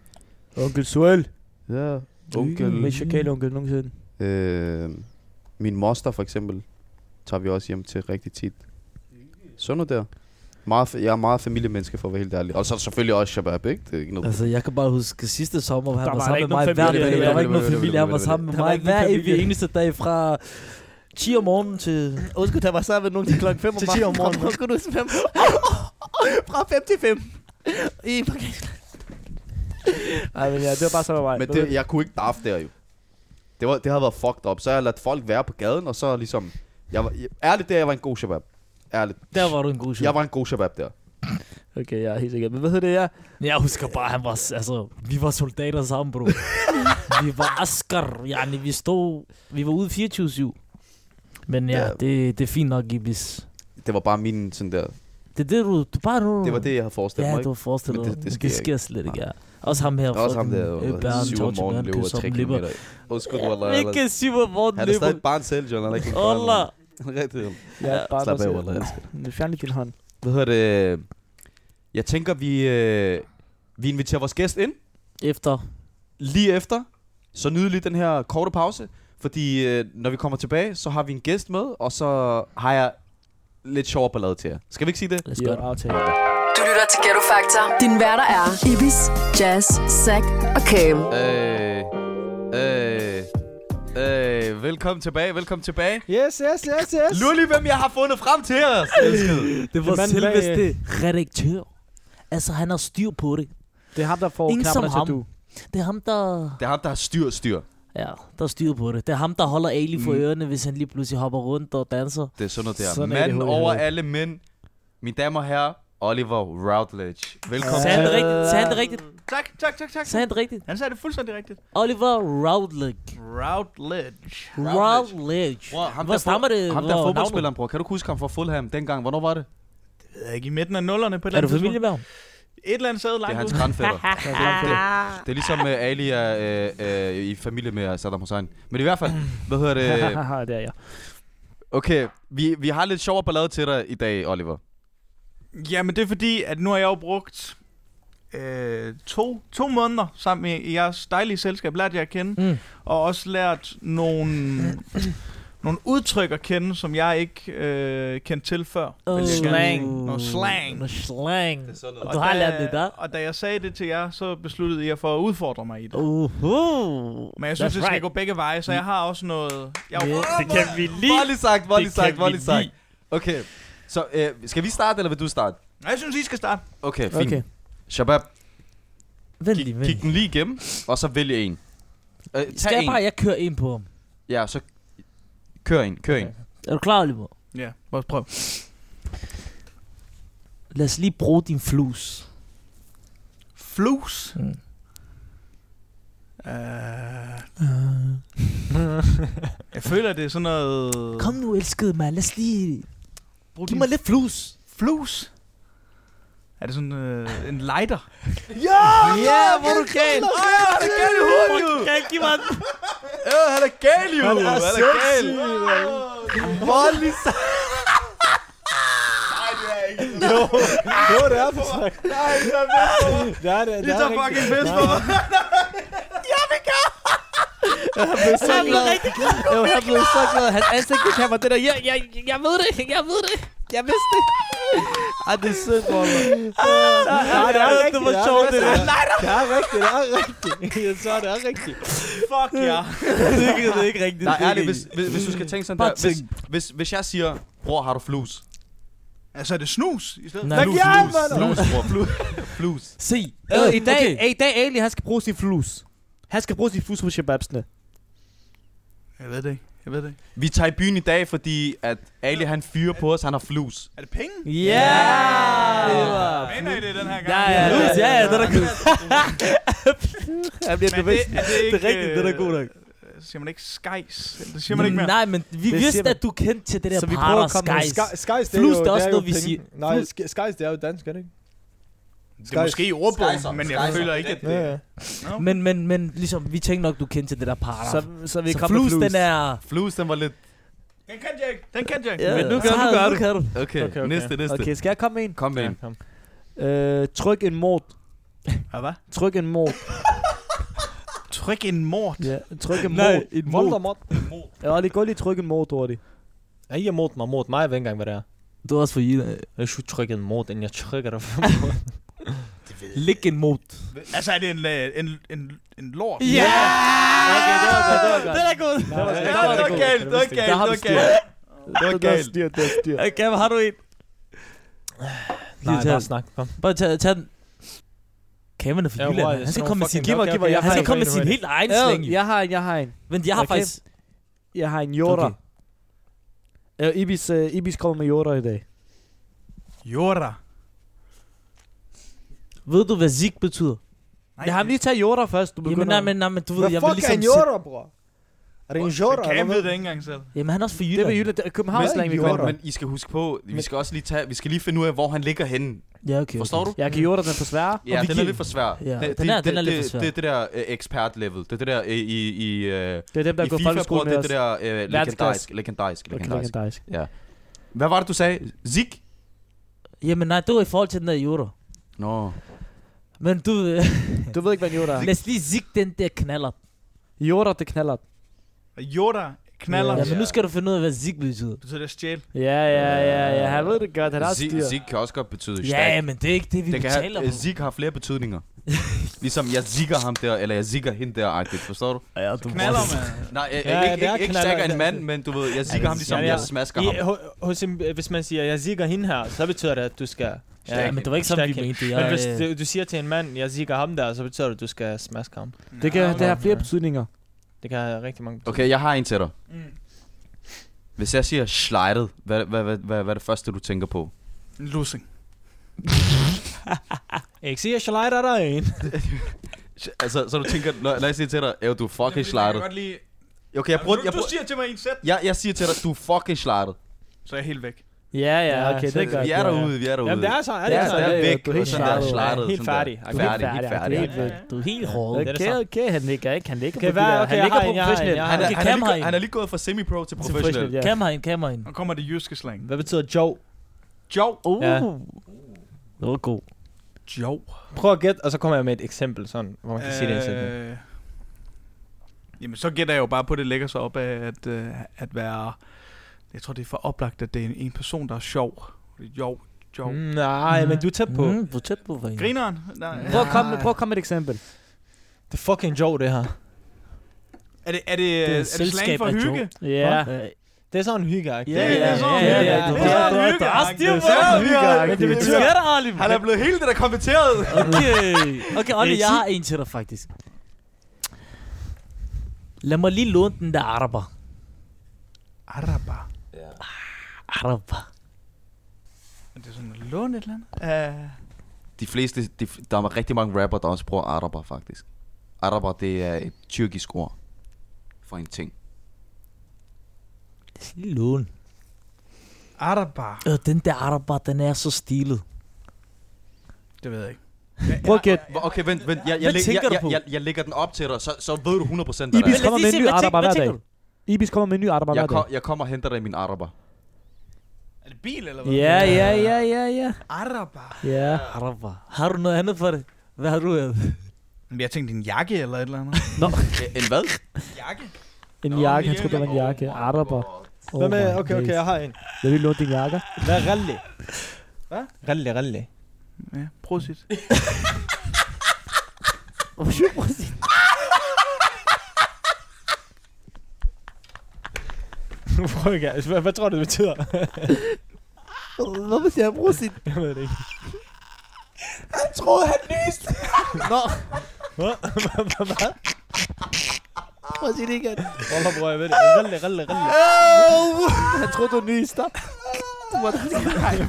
[SPEAKER 1] Onkel Suel.
[SPEAKER 3] Ja,
[SPEAKER 1] Mm. Min
[SPEAKER 3] onkel,
[SPEAKER 1] chakalonkel nogensinde.
[SPEAKER 3] øh, min moster for eksempel, tager vi også hjem til rigtig tit. Sådan noget der. Meget, fa- jeg er meget familiemenneske, for at være helt ærlig. Og så selvfølgelig også Shabab, ikke? Det er ikke noget
[SPEAKER 2] Altså, jeg kan bare huske sidste sommer, hvor han
[SPEAKER 1] Der
[SPEAKER 2] var,
[SPEAKER 1] var der
[SPEAKER 2] sammen
[SPEAKER 1] ikke
[SPEAKER 2] med mig
[SPEAKER 1] nogen
[SPEAKER 2] hver
[SPEAKER 1] familie.
[SPEAKER 2] dag. Der var ikke nogen
[SPEAKER 3] Vældig,
[SPEAKER 2] familie, han var
[SPEAKER 3] vældig,
[SPEAKER 2] sammen med
[SPEAKER 1] vældig. Der var
[SPEAKER 2] mig
[SPEAKER 1] ikke
[SPEAKER 2] hver
[SPEAKER 1] nogen
[SPEAKER 2] evig
[SPEAKER 1] familie.
[SPEAKER 2] eneste dag fra 10 om morgenen til...
[SPEAKER 1] Undskyld, der var sammen med nogen til klokken 5 om
[SPEAKER 5] Til 10 om morgenen.
[SPEAKER 1] Undskyld, du er fem. Fra 5 til 5. I Ej, men ja, det var bare sammen med mig.
[SPEAKER 3] Men det, jeg kunne ikke daffe der jo. Det, var, det havde været fucked up. Så jeg ladt folk være på gaden, og så ligesom... Jeg var, jeg, ærligt, det her, jeg var en god shabab. ærligt.
[SPEAKER 2] Der var du en god shot.
[SPEAKER 3] Jeg var en god shabab der.
[SPEAKER 1] Okay, jeg er helt sikker. Men hvad hedder det, jeg?
[SPEAKER 2] Jeg husker bare, han var, altså, vi var soldater sammen, bro. vi var asker, yani, vi stod, vi var ude 24-7. Men ja,
[SPEAKER 3] Ja.
[SPEAKER 2] ja. Det, det er fint nok, Ibis.
[SPEAKER 3] Det var bare min sådan der.
[SPEAKER 2] Det er det, du, du bare nu...
[SPEAKER 3] Det var det, jeg havde forestillet
[SPEAKER 2] ja,
[SPEAKER 3] mig,
[SPEAKER 2] du
[SPEAKER 3] ikke?
[SPEAKER 2] har forestillet
[SPEAKER 3] Men
[SPEAKER 2] dig.
[SPEAKER 3] det-
[SPEAKER 2] Det,
[SPEAKER 3] det
[SPEAKER 2] det,
[SPEAKER 3] sker
[SPEAKER 2] det sker
[SPEAKER 3] ikke.
[SPEAKER 2] slet ikke, ja. Også ham her.
[SPEAKER 3] Også ham der,
[SPEAKER 2] Øh,
[SPEAKER 3] der
[SPEAKER 2] Bæren,
[SPEAKER 3] syv om
[SPEAKER 2] Torch,
[SPEAKER 3] morgenen
[SPEAKER 2] Bæren,
[SPEAKER 3] løber
[SPEAKER 2] kysser
[SPEAKER 3] 3
[SPEAKER 2] om læber.
[SPEAKER 3] km. Undskyld, Wallah.
[SPEAKER 2] Ja,
[SPEAKER 3] Wallah.
[SPEAKER 2] Ikke Simon Morten
[SPEAKER 3] Han er stadig
[SPEAKER 2] Løber.
[SPEAKER 3] et barn selv, John. Han er ikke en
[SPEAKER 2] Olla.
[SPEAKER 3] barn. Han er rigtig-
[SPEAKER 1] Jeg er bare
[SPEAKER 3] Slap af,
[SPEAKER 1] noget-
[SPEAKER 3] Wallah.
[SPEAKER 1] Fjern lige din hånd.
[SPEAKER 3] Hvad hedder det? Jeg tænker, vi, øh, vi inviterer vores gæst ind
[SPEAKER 2] Efter.
[SPEAKER 3] lige efter. Så nyde lige den her korte pause. Fordi øh, når vi kommer tilbage, så har vi en gæst med, og så har jeg lidt sjov ballade til jer. Skal vi ikke sige det?
[SPEAKER 2] Let's
[SPEAKER 1] Jo,
[SPEAKER 2] go.
[SPEAKER 1] aftale.
[SPEAKER 4] Du lytter til Ghetto Factor. Din værter er Ibis, Jazz, Zack og Cam.
[SPEAKER 3] Øh, øh, øh, velkommen tilbage, velkommen tilbage.
[SPEAKER 5] Yes, yes, yes, yes.
[SPEAKER 3] Lur lige, hvem jeg har fundet frem til os,
[SPEAKER 2] Det
[SPEAKER 3] elskede.
[SPEAKER 2] var
[SPEAKER 1] Det er manden bag,
[SPEAKER 2] selveste redaktør. Altså, han har styr på det.
[SPEAKER 1] Det er ham, der får
[SPEAKER 2] Ingen som
[SPEAKER 1] knapperne
[SPEAKER 2] ham.
[SPEAKER 1] til du.
[SPEAKER 2] Det er ham, der...
[SPEAKER 3] Det er ham, der har styr, styr.
[SPEAKER 2] Ja, der er styr på det. Det er ham, der holder Ali for
[SPEAKER 3] Mm.
[SPEAKER 2] ørerne, hvis han lige pludselig hopper rundt og danser.
[SPEAKER 3] Det er sådan noget der.
[SPEAKER 1] Sådan er det
[SPEAKER 3] Manden
[SPEAKER 1] hovedet,
[SPEAKER 3] over
[SPEAKER 1] hovedet.
[SPEAKER 3] alle mænd. Mine damer og herrer, Oliver Routledge. Velkommen.
[SPEAKER 2] Sagde han det rigtigt? Sagde han det rigtigt?
[SPEAKER 6] Tak, tak, tak, tak.
[SPEAKER 2] Sagde han det rigtigt?
[SPEAKER 6] Han sagde det fuldstændig rigtigt.
[SPEAKER 2] Oliver Routledge.
[SPEAKER 6] Routledge.
[SPEAKER 2] Routledge.
[SPEAKER 3] Bro, ham
[SPEAKER 2] Hvor
[SPEAKER 3] der,
[SPEAKER 2] stammer det?
[SPEAKER 3] ham
[SPEAKER 2] Hvor
[SPEAKER 3] der
[SPEAKER 2] er
[SPEAKER 3] fodboldspilleren, bror. Kan du huske ham fra Fulham dengang? Hvornår var det?
[SPEAKER 6] Det ved jeg ikke, i midten af nullerne på et
[SPEAKER 2] Er du
[SPEAKER 6] eller
[SPEAKER 2] familie
[SPEAKER 6] andet tidspunkt.
[SPEAKER 2] med ham?
[SPEAKER 6] Et eller andet sted
[SPEAKER 3] Det er
[SPEAKER 6] langt
[SPEAKER 3] hans
[SPEAKER 6] ud.
[SPEAKER 3] grandfætter. det, det er ligesom uh, Ali er uh, uh, i familie med Saddam Hussein. Men i hvert fald, hvad hedder
[SPEAKER 1] Øh.
[SPEAKER 3] det?
[SPEAKER 1] Haha, det er jeg.
[SPEAKER 3] Okay, vi, vi har lidt sjovere ballade til dig i dag, Oliver.
[SPEAKER 6] Jamen, det er fordi, at nu har jeg jo brugt øh, to, to måneder sammen med jeres dejlige selskab, lært jer at kende,
[SPEAKER 2] Mm.
[SPEAKER 6] og også lært nogle, nogle udtryk at kende, som jeg ikke øh, kendte til før.
[SPEAKER 2] Oh.
[SPEAKER 6] vil jeg gerne sige.
[SPEAKER 2] Slang.
[SPEAKER 6] Noget slang.
[SPEAKER 2] Noget slang.
[SPEAKER 3] sådan
[SPEAKER 2] Og du har
[SPEAKER 6] da-
[SPEAKER 2] lært det der.
[SPEAKER 6] Og da jeg sagde det til jer, så besluttede jeg for at udfordre mig i det.
[SPEAKER 2] Uhu.
[SPEAKER 6] Men jeg synes,
[SPEAKER 2] Uh, That's
[SPEAKER 6] det skal
[SPEAKER 2] right.
[SPEAKER 6] gå begge veje, så jeg har også noget... Jeg
[SPEAKER 2] Yeah.
[SPEAKER 6] yeah.
[SPEAKER 2] Det kan vi
[SPEAKER 3] Hvor lige sagt, hvor lige
[SPEAKER 2] Det
[SPEAKER 3] sagt,
[SPEAKER 2] kan
[SPEAKER 3] hvor
[SPEAKER 2] vi
[SPEAKER 3] lige sagt. Okay, så uh, skal vi starte, eller vil du starte?
[SPEAKER 6] Jeg synes, I skal starte.
[SPEAKER 3] Okay, fint.
[SPEAKER 1] Okay.
[SPEAKER 3] Okay. Shabab,
[SPEAKER 2] Vældig,
[SPEAKER 3] kig,
[SPEAKER 2] vældig.
[SPEAKER 3] kig den lige igennem, og så vælg en. Uh, tag
[SPEAKER 2] Skal jeg
[SPEAKER 3] en.
[SPEAKER 2] bare, jeg kører ind på ham.
[SPEAKER 3] Ja, så kør en, kør en.
[SPEAKER 2] Er du klar, Oliver?
[SPEAKER 6] Ja, lad os prøve.
[SPEAKER 2] Lad os lige bruge din flus.
[SPEAKER 6] Flus.
[SPEAKER 2] Mm.
[SPEAKER 6] Uh, jeg føler, det er sådan noget...
[SPEAKER 2] Kom nu, elskede mand. Lad os lige...
[SPEAKER 6] brug
[SPEAKER 2] Giv
[SPEAKER 6] din
[SPEAKER 2] mig lidt flus.
[SPEAKER 6] flus. Er det sådan øh, en lighter?
[SPEAKER 3] Ja,
[SPEAKER 2] Ja, hvor er du gal.
[SPEAKER 3] Åh, ja, han er gal i hovedet, jo.
[SPEAKER 2] Kan jeg give mig den?
[SPEAKER 3] Ja, Øh, han er gal, jo. Han er gal. Voldelig sagt.
[SPEAKER 1] Jo, det er for sagt.
[SPEAKER 3] Nej, det er fedt.
[SPEAKER 1] Det er det.
[SPEAKER 6] Det er så fucking fedt for mig.
[SPEAKER 2] Han blev rigtig glad. Jo, han blev så glad. Hans ansigt, det kan var det der. Jeg, jeg, jeg ved det. Jeg ved det. Jeg vidste det.
[SPEAKER 1] Ej, det er sødt for mig. Nej, det er rigtigt.
[SPEAKER 2] Det var sjovt, det der.
[SPEAKER 1] Det er rigtigt, det er rigtigt. Jeg så, det er rigtigt.
[SPEAKER 6] Fuck ja.
[SPEAKER 2] Det er ikke- Det er ikke rigtigt.
[SPEAKER 3] Nej,
[SPEAKER 2] Det er
[SPEAKER 3] ærligt,
[SPEAKER 2] ikke
[SPEAKER 3] hvis, hvis, hvis du skal tænke sådan
[SPEAKER 2] Bare
[SPEAKER 3] der. Hvis, hvis, hvis jeg siger, bror, har du flus?
[SPEAKER 6] Altså, er det snus i stedet?
[SPEAKER 2] Nej,
[SPEAKER 6] Nej,
[SPEAKER 2] flus,
[SPEAKER 6] ja,
[SPEAKER 2] flus,
[SPEAKER 6] mand.
[SPEAKER 3] Flus, bror. Flus. flus.
[SPEAKER 2] rigtigt. Se.
[SPEAKER 1] Øh,
[SPEAKER 2] I dag.
[SPEAKER 1] I dag, Ali, han skal bruge sin flus. Han skal bruge sin flus på shababsene.
[SPEAKER 6] Jeg ved det ikke. Jeg ved det ikke.
[SPEAKER 3] Vi tager i byen i dag, fordi at Ali han fyrer på os, han har flus.
[SPEAKER 6] Er det penge?
[SPEAKER 2] Ja.
[SPEAKER 6] Mener I det den her gang?
[SPEAKER 2] Ja, ja, ja, ja, ja, det er da god.
[SPEAKER 1] Han bliver
[SPEAKER 6] Men det, er det, ikke,
[SPEAKER 1] Det er rigtigt, det er da god nok.
[SPEAKER 6] øh, Siger man ikke skejs? Eller Det siger man ikke mere.
[SPEAKER 2] Nej, men vi
[SPEAKER 1] Det
[SPEAKER 2] vidste,
[SPEAKER 1] siger man.
[SPEAKER 2] at du kendte til det der
[SPEAKER 1] Så vi prøver at komme med
[SPEAKER 2] Paradise Guys.
[SPEAKER 7] Skies, det
[SPEAKER 2] Flus,
[SPEAKER 7] er jo,
[SPEAKER 2] det er
[SPEAKER 7] det
[SPEAKER 2] også
[SPEAKER 7] er jo
[SPEAKER 2] noget, vi
[SPEAKER 7] penge.
[SPEAKER 2] siger.
[SPEAKER 7] Nej,
[SPEAKER 2] Flus.
[SPEAKER 7] Sk- Skies, det er jo dansk, er det ikke?
[SPEAKER 6] Det er måske i ordbogen,
[SPEAKER 3] Skejser,
[SPEAKER 6] men jeg
[SPEAKER 3] skejser.
[SPEAKER 6] føler ikke, at det...
[SPEAKER 7] Ja, ja.
[SPEAKER 2] Men, men, men ligesom, vi tænkte nok, du kendte til det der Paradise.
[SPEAKER 1] Ah, Så, så vi
[SPEAKER 2] så
[SPEAKER 1] kommer med
[SPEAKER 2] flus,
[SPEAKER 1] flus.
[SPEAKER 2] den er...
[SPEAKER 3] Flus, den var lidt...
[SPEAKER 6] Den kan jeg ikke. Den kan jeg ikke.
[SPEAKER 2] Ja,
[SPEAKER 6] Men
[SPEAKER 2] så
[SPEAKER 6] nu kan
[SPEAKER 2] har-
[SPEAKER 6] du gøre
[SPEAKER 2] nu
[SPEAKER 6] det.
[SPEAKER 2] kan du.
[SPEAKER 3] Okay,
[SPEAKER 1] Okay,
[SPEAKER 3] okay,
[SPEAKER 1] okay.
[SPEAKER 3] okay. næste, næste.
[SPEAKER 1] Okay, skal jeg komme med en?
[SPEAKER 3] Kom med en.
[SPEAKER 5] kom.
[SPEAKER 1] Øh, tryk en mord.
[SPEAKER 6] Ja, hvad?
[SPEAKER 1] Tryk en mord.
[SPEAKER 6] Tryk en mord.
[SPEAKER 1] Ja, tryk en
[SPEAKER 2] Nej,
[SPEAKER 1] mord.
[SPEAKER 2] et
[SPEAKER 1] Mord
[SPEAKER 2] mord.
[SPEAKER 1] og mord. Ja, Ali, gå lige tryk en mord hurtigt.
[SPEAKER 5] Ja, I er mod mig, mod mig. Jeg ved ikke engang, hvad det er.
[SPEAKER 2] Du er også for Jylland.
[SPEAKER 5] Jeg skulle trykke en mod, inden jeg trykker dig.
[SPEAKER 2] Læg en mod.
[SPEAKER 6] Altså, er det en, øh, en, en, en lort?
[SPEAKER 2] Ja!
[SPEAKER 1] Okay, det var godt, det var godt.
[SPEAKER 2] Den er god.
[SPEAKER 1] Det var-
[SPEAKER 3] Ja,
[SPEAKER 1] det var-
[SPEAKER 3] det var galt, det var
[SPEAKER 2] Der
[SPEAKER 3] galt,
[SPEAKER 2] har
[SPEAKER 3] det
[SPEAKER 2] vi
[SPEAKER 3] var
[SPEAKER 2] styr.
[SPEAKER 3] galt.
[SPEAKER 1] det var
[SPEAKER 3] galt.
[SPEAKER 1] styr, det var styr.
[SPEAKER 2] Okay, hvad har du en?
[SPEAKER 5] Nej,
[SPEAKER 2] tag
[SPEAKER 5] bare
[SPEAKER 2] den.
[SPEAKER 5] snak. Kom.
[SPEAKER 2] Bare tag, tag den. Kameran er for
[SPEAKER 5] Ja,
[SPEAKER 2] Jylland.
[SPEAKER 5] hvor er
[SPEAKER 2] mand.
[SPEAKER 5] det
[SPEAKER 2] Han skal
[SPEAKER 5] sådan
[SPEAKER 2] komme med
[SPEAKER 5] nogle
[SPEAKER 2] sin...
[SPEAKER 5] fucking-
[SPEAKER 1] Giv mig, giv mig, jeg
[SPEAKER 5] Ja,
[SPEAKER 1] har
[SPEAKER 2] Han skal
[SPEAKER 5] hurtigt,
[SPEAKER 1] en.
[SPEAKER 2] komme med sin
[SPEAKER 5] hurtigt.
[SPEAKER 2] helt egen slang.
[SPEAKER 1] Øh, Jeg har en, jeg har en.
[SPEAKER 2] Men jeg har
[SPEAKER 1] Okay.
[SPEAKER 2] faktisk...
[SPEAKER 1] Jeg har en jorda. Okay. Ibis, øh, Ibis øh, kommer med jorda i dag.
[SPEAKER 6] Jorda.
[SPEAKER 2] Ved du, hvad zik betyder?
[SPEAKER 6] Nej,
[SPEAKER 1] Jeg har lige taget jorda først. Du
[SPEAKER 2] Jamen,
[SPEAKER 1] begynder...
[SPEAKER 2] nej, men, nej, men du ved,
[SPEAKER 7] Hvad
[SPEAKER 2] jeg vil
[SPEAKER 7] fuck
[SPEAKER 2] ligesom...
[SPEAKER 7] er en
[SPEAKER 2] sætte-
[SPEAKER 7] jorder, bror? Er det en jorder?
[SPEAKER 6] kan jeg
[SPEAKER 7] eller
[SPEAKER 6] ved det
[SPEAKER 7] hvad?
[SPEAKER 6] ikke engang selv.
[SPEAKER 2] Jamen, han er også fra
[SPEAKER 1] Det er ved
[SPEAKER 2] Jylland.
[SPEAKER 1] Jylland. Det er København
[SPEAKER 7] Hvad er
[SPEAKER 1] slang, vi
[SPEAKER 7] jorder?
[SPEAKER 1] kommer.
[SPEAKER 3] Men I skal huske på, vi skal også lige, tage, vi skal lige finde ud af, hvor han ligger henne.
[SPEAKER 2] Ja, okay.
[SPEAKER 3] Forstår
[SPEAKER 2] okay.
[SPEAKER 3] du?
[SPEAKER 1] Jeg kan jorda den for svære.
[SPEAKER 2] vi
[SPEAKER 3] Ja, den er
[SPEAKER 2] giver-
[SPEAKER 3] lidt for svær.
[SPEAKER 2] Ja, den er- den er lidt for svær.
[SPEAKER 3] Det, det, det der øh, expert-level. Det er det der øh, i, i, øh,
[SPEAKER 1] Det er dem, der
[SPEAKER 3] i
[SPEAKER 1] går
[SPEAKER 3] FIFA, bror,
[SPEAKER 1] folkeskole med
[SPEAKER 3] det er
[SPEAKER 1] os.
[SPEAKER 3] det der øh, legendarisk,
[SPEAKER 1] Verdensklasse.
[SPEAKER 3] legendarisk,
[SPEAKER 1] Okay,
[SPEAKER 3] legendarisk.
[SPEAKER 1] legendarisk.
[SPEAKER 3] Hvad var det, du sagde? Zik?
[SPEAKER 2] Jamen, nej, det var i forhold til den der jorder.
[SPEAKER 3] Nå.
[SPEAKER 2] Men du... øh,
[SPEAKER 1] Du ved ikke, hvad en jorda er.
[SPEAKER 2] Lad os lige zik den der knaller.
[SPEAKER 1] Jorda, det knaller.
[SPEAKER 6] Jorda knaller.
[SPEAKER 2] Ja,
[SPEAKER 6] Yeah.
[SPEAKER 2] men nu skal du finde ud af, hvad zik betyder.
[SPEAKER 6] Betyder det stjæl?
[SPEAKER 1] Ja, ja, ja, ja. Han ved det godt. Han har
[SPEAKER 3] Zik,
[SPEAKER 1] styr.
[SPEAKER 3] Zik kan også godt betyde
[SPEAKER 2] Ja,
[SPEAKER 3] stærk.
[SPEAKER 2] men det er ikke det, vi
[SPEAKER 3] Det kan
[SPEAKER 2] betaler
[SPEAKER 3] have,
[SPEAKER 2] på.
[SPEAKER 3] Zik har flere betydninger. ligesom jeg zigger ham der, eller jeg zigger hende der-agtigt, forstår du?
[SPEAKER 2] Ja, du
[SPEAKER 6] Knaller, mand.
[SPEAKER 3] Nej, jeg,
[SPEAKER 5] Ja,
[SPEAKER 3] ja,
[SPEAKER 5] ja,
[SPEAKER 3] ikke,
[SPEAKER 5] det er
[SPEAKER 3] ikke, ikke
[SPEAKER 5] knaller,
[SPEAKER 3] stakker en
[SPEAKER 5] det er-
[SPEAKER 3] mand, men du ved, jeg zigger
[SPEAKER 2] det
[SPEAKER 3] ham
[SPEAKER 2] er-
[SPEAKER 3] ligesom
[SPEAKER 5] ja,
[SPEAKER 3] ja,
[SPEAKER 5] ja.
[SPEAKER 3] jeg smasker
[SPEAKER 5] I,
[SPEAKER 3] ham.
[SPEAKER 5] ho- hos en, hvis man siger, jeg zigger hende her, så betyder det, at du skal...
[SPEAKER 2] Ja, men det var ikke sådan, vi
[SPEAKER 5] Stærk-
[SPEAKER 2] mente det.
[SPEAKER 5] Men hvis
[SPEAKER 2] Jeg, øh,
[SPEAKER 5] du, du siger til en mand, jeg zigger ham der, så betyder det, at du skal smaske ham.
[SPEAKER 1] Det, kan, det har flere
[SPEAKER 5] Ja.
[SPEAKER 1] betydninger.
[SPEAKER 5] Det kan have rigtig mange
[SPEAKER 3] Okay, jeg har en til dig. Hvis jeg siger slidet, hvad, hvad, hvad, hvad, hvad er det første, du tænker på?
[SPEAKER 6] Losing.
[SPEAKER 5] Ikke siger, jeg er der en.
[SPEAKER 3] Altså, så du tænker, lad, lad os sige til dig, jo, du er fucking slidet.
[SPEAKER 6] godt lige...
[SPEAKER 3] Okay, jeg prøver, jeg,
[SPEAKER 6] du,
[SPEAKER 3] prøver,
[SPEAKER 6] du siger til mig i en sæt,
[SPEAKER 3] jeg, jeg siger til dig, du er fucking slidet.
[SPEAKER 6] så er jeg helt væk.
[SPEAKER 1] Ja, ja, okay, det er godt.
[SPEAKER 3] Vi er derude, vi er derude.
[SPEAKER 5] Jamen, det er så. Er det
[SPEAKER 1] Ja,
[SPEAKER 5] ikke
[SPEAKER 1] så
[SPEAKER 5] sådan?
[SPEAKER 1] det er
[SPEAKER 3] væk.
[SPEAKER 1] Du er helt
[SPEAKER 3] sådan der,
[SPEAKER 1] slidet.
[SPEAKER 3] slidet,
[SPEAKER 5] Helt
[SPEAKER 3] sådan der.
[SPEAKER 5] færdig. Okay.
[SPEAKER 3] Færdig,
[SPEAKER 1] Helt
[SPEAKER 3] helt
[SPEAKER 1] færdig,
[SPEAKER 3] færdig.
[SPEAKER 1] helt vildt.
[SPEAKER 2] Du er helt hård.
[SPEAKER 5] det er det
[SPEAKER 1] Okay,
[SPEAKER 5] samme.
[SPEAKER 1] okay, han ligger ikke. Han ligger
[SPEAKER 5] Okay,
[SPEAKER 1] på
[SPEAKER 5] hvad-
[SPEAKER 1] det der.
[SPEAKER 5] okay,
[SPEAKER 1] Han
[SPEAKER 5] jeg
[SPEAKER 1] ligger
[SPEAKER 5] har
[SPEAKER 1] på
[SPEAKER 5] en, jeg har en,
[SPEAKER 1] professionel.
[SPEAKER 5] jeg har
[SPEAKER 3] Han er,
[SPEAKER 2] Okay,
[SPEAKER 3] han, er
[SPEAKER 2] Cam har
[SPEAKER 3] lige,
[SPEAKER 2] en.
[SPEAKER 3] han er lige gået fra semi-pro til
[SPEAKER 1] Til professionel,
[SPEAKER 3] professionel.
[SPEAKER 1] ja.
[SPEAKER 2] Kæm herind, kæm herind.
[SPEAKER 6] Og kommer det jyske slang.
[SPEAKER 5] Hvad betyder Joe?
[SPEAKER 6] Jo.
[SPEAKER 2] Uh,
[SPEAKER 5] Ja.
[SPEAKER 2] det var god.
[SPEAKER 6] Jo.
[SPEAKER 5] Prøv at gætte, og så kommer jeg med et eksempel, sådan, hvor man kan øh, sige det i en sætning.
[SPEAKER 6] Jamen, så gætter jeg jo bare på, det lægger sig op af at, øh, at være... Jeg tror, det er for oplagt, at det er en, en person, der er sjov. Jo, jo. Mm.
[SPEAKER 5] Mm, Nej, men du er tæt på.
[SPEAKER 2] Mm, du er tæt på, for en.
[SPEAKER 6] Grineren? Nej.
[SPEAKER 1] Prøv at komme, prøv at komme med et eksempel.
[SPEAKER 5] Det er fucking Joe, det her.
[SPEAKER 6] Er det, er det, det er, er det slang
[SPEAKER 2] selskab
[SPEAKER 6] for
[SPEAKER 2] af
[SPEAKER 6] hygge?
[SPEAKER 2] Joe.
[SPEAKER 1] Ja.
[SPEAKER 5] Det er sådan en hygge
[SPEAKER 2] Ja, ja, ja,
[SPEAKER 6] sådan,
[SPEAKER 2] ja,
[SPEAKER 6] det
[SPEAKER 2] ja,
[SPEAKER 6] er.
[SPEAKER 2] du-
[SPEAKER 6] Det
[SPEAKER 2] du-
[SPEAKER 6] er
[SPEAKER 2] du- du-
[SPEAKER 6] hygge,
[SPEAKER 2] du-
[SPEAKER 6] agtigt.
[SPEAKER 2] du-
[SPEAKER 6] Det er sådan
[SPEAKER 1] hygge,
[SPEAKER 6] hygge,
[SPEAKER 1] agtigt.
[SPEAKER 6] agtigt.
[SPEAKER 2] Du skal da, Olim.
[SPEAKER 3] Han er blevet hele det der kommenteret.
[SPEAKER 2] Okay. Okay, Olim, jeg har en til dig, faktisk. Lad mig lige låne den der araber.
[SPEAKER 6] Araba.
[SPEAKER 2] Araber.
[SPEAKER 6] Er det sådan at låne et eller andet? Uh,
[SPEAKER 3] De fleste, de, der er rigtig mange rapper, der også bruger araber, faktisk. Araber, det er et tyrkisk ord for en ting.
[SPEAKER 2] Jeg skal lige låne.
[SPEAKER 6] Araba.
[SPEAKER 2] Øh, den der araber, den er så stilet.
[SPEAKER 6] Det ved jeg ikke.
[SPEAKER 1] Prøv at gætte.
[SPEAKER 3] Okay, vent, vent.
[SPEAKER 2] Hvad
[SPEAKER 3] Jeg, jeg, læg- jeg,
[SPEAKER 2] tænker du
[SPEAKER 3] jeg,
[SPEAKER 2] på?
[SPEAKER 3] jeg, jeg, lægger den op til dig, så, så ved du 100% hvad
[SPEAKER 1] Ibis
[SPEAKER 3] det
[SPEAKER 1] kommer med en ny araber hver dag.
[SPEAKER 2] du?
[SPEAKER 1] Ibis kommer med en ny araber
[SPEAKER 3] er.
[SPEAKER 1] hver
[SPEAKER 3] Jeg,
[SPEAKER 1] dag.
[SPEAKER 3] kom, jeg kommer og henter dig i min araber.
[SPEAKER 6] Er det bil, eller
[SPEAKER 1] Ja, ja, ja, ja, ja.
[SPEAKER 6] Araba.
[SPEAKER 1] Ja.
[SPEAKER 2] Araber. Har du noget andet for det? Hvad har du? øh?
[SPEAKER 6] Men jeg tænkte en jakke eller et eller andet.
[SPEAKER 3] En- En hvad?
[SPEAKER 6] jakke?
[SPEAKER 1] En
[SPEAKER 6] Nå,
[SPEAKER 1] jakke. Han
[SPEAKER 6] men
[SPEAKER 1] troede, det var en jakke. Araber. Oh
[SPEAKER 5] Hvad med,
[SPEAKER 1] my
[SPEAKER 5] okay, okay,
[SPEAKER 1] days.
[SPEAKER 5] jeg har en.
[SPEAKER 1] Jeg vil låne din jakke.
[SPEAKER 5] Hvad er rally? Hvad? Rally, rally.
[SPEAKER 6] Ja, prosit.
[SPEAKER 5] Prøv ikke, altså, hvad, hvad tror du, det betyder?
[SPEAKER 1] Hvorfor siger jeg bruge sit?
[SPEAKER 5] jeg ved det ikke.
[SPEAKER 1] Nå,
[SPEAKER 5] Hvad? Hvad? Hvad?
[SPEAKER 1] prøv at sige det igen.
[SPEAKER 5] Roller, bror, jeg ved det. Rally, rally, rally.
[SPEAKER 1] Han troede, du nyste.
[SPEAKER 5] Roller, jeg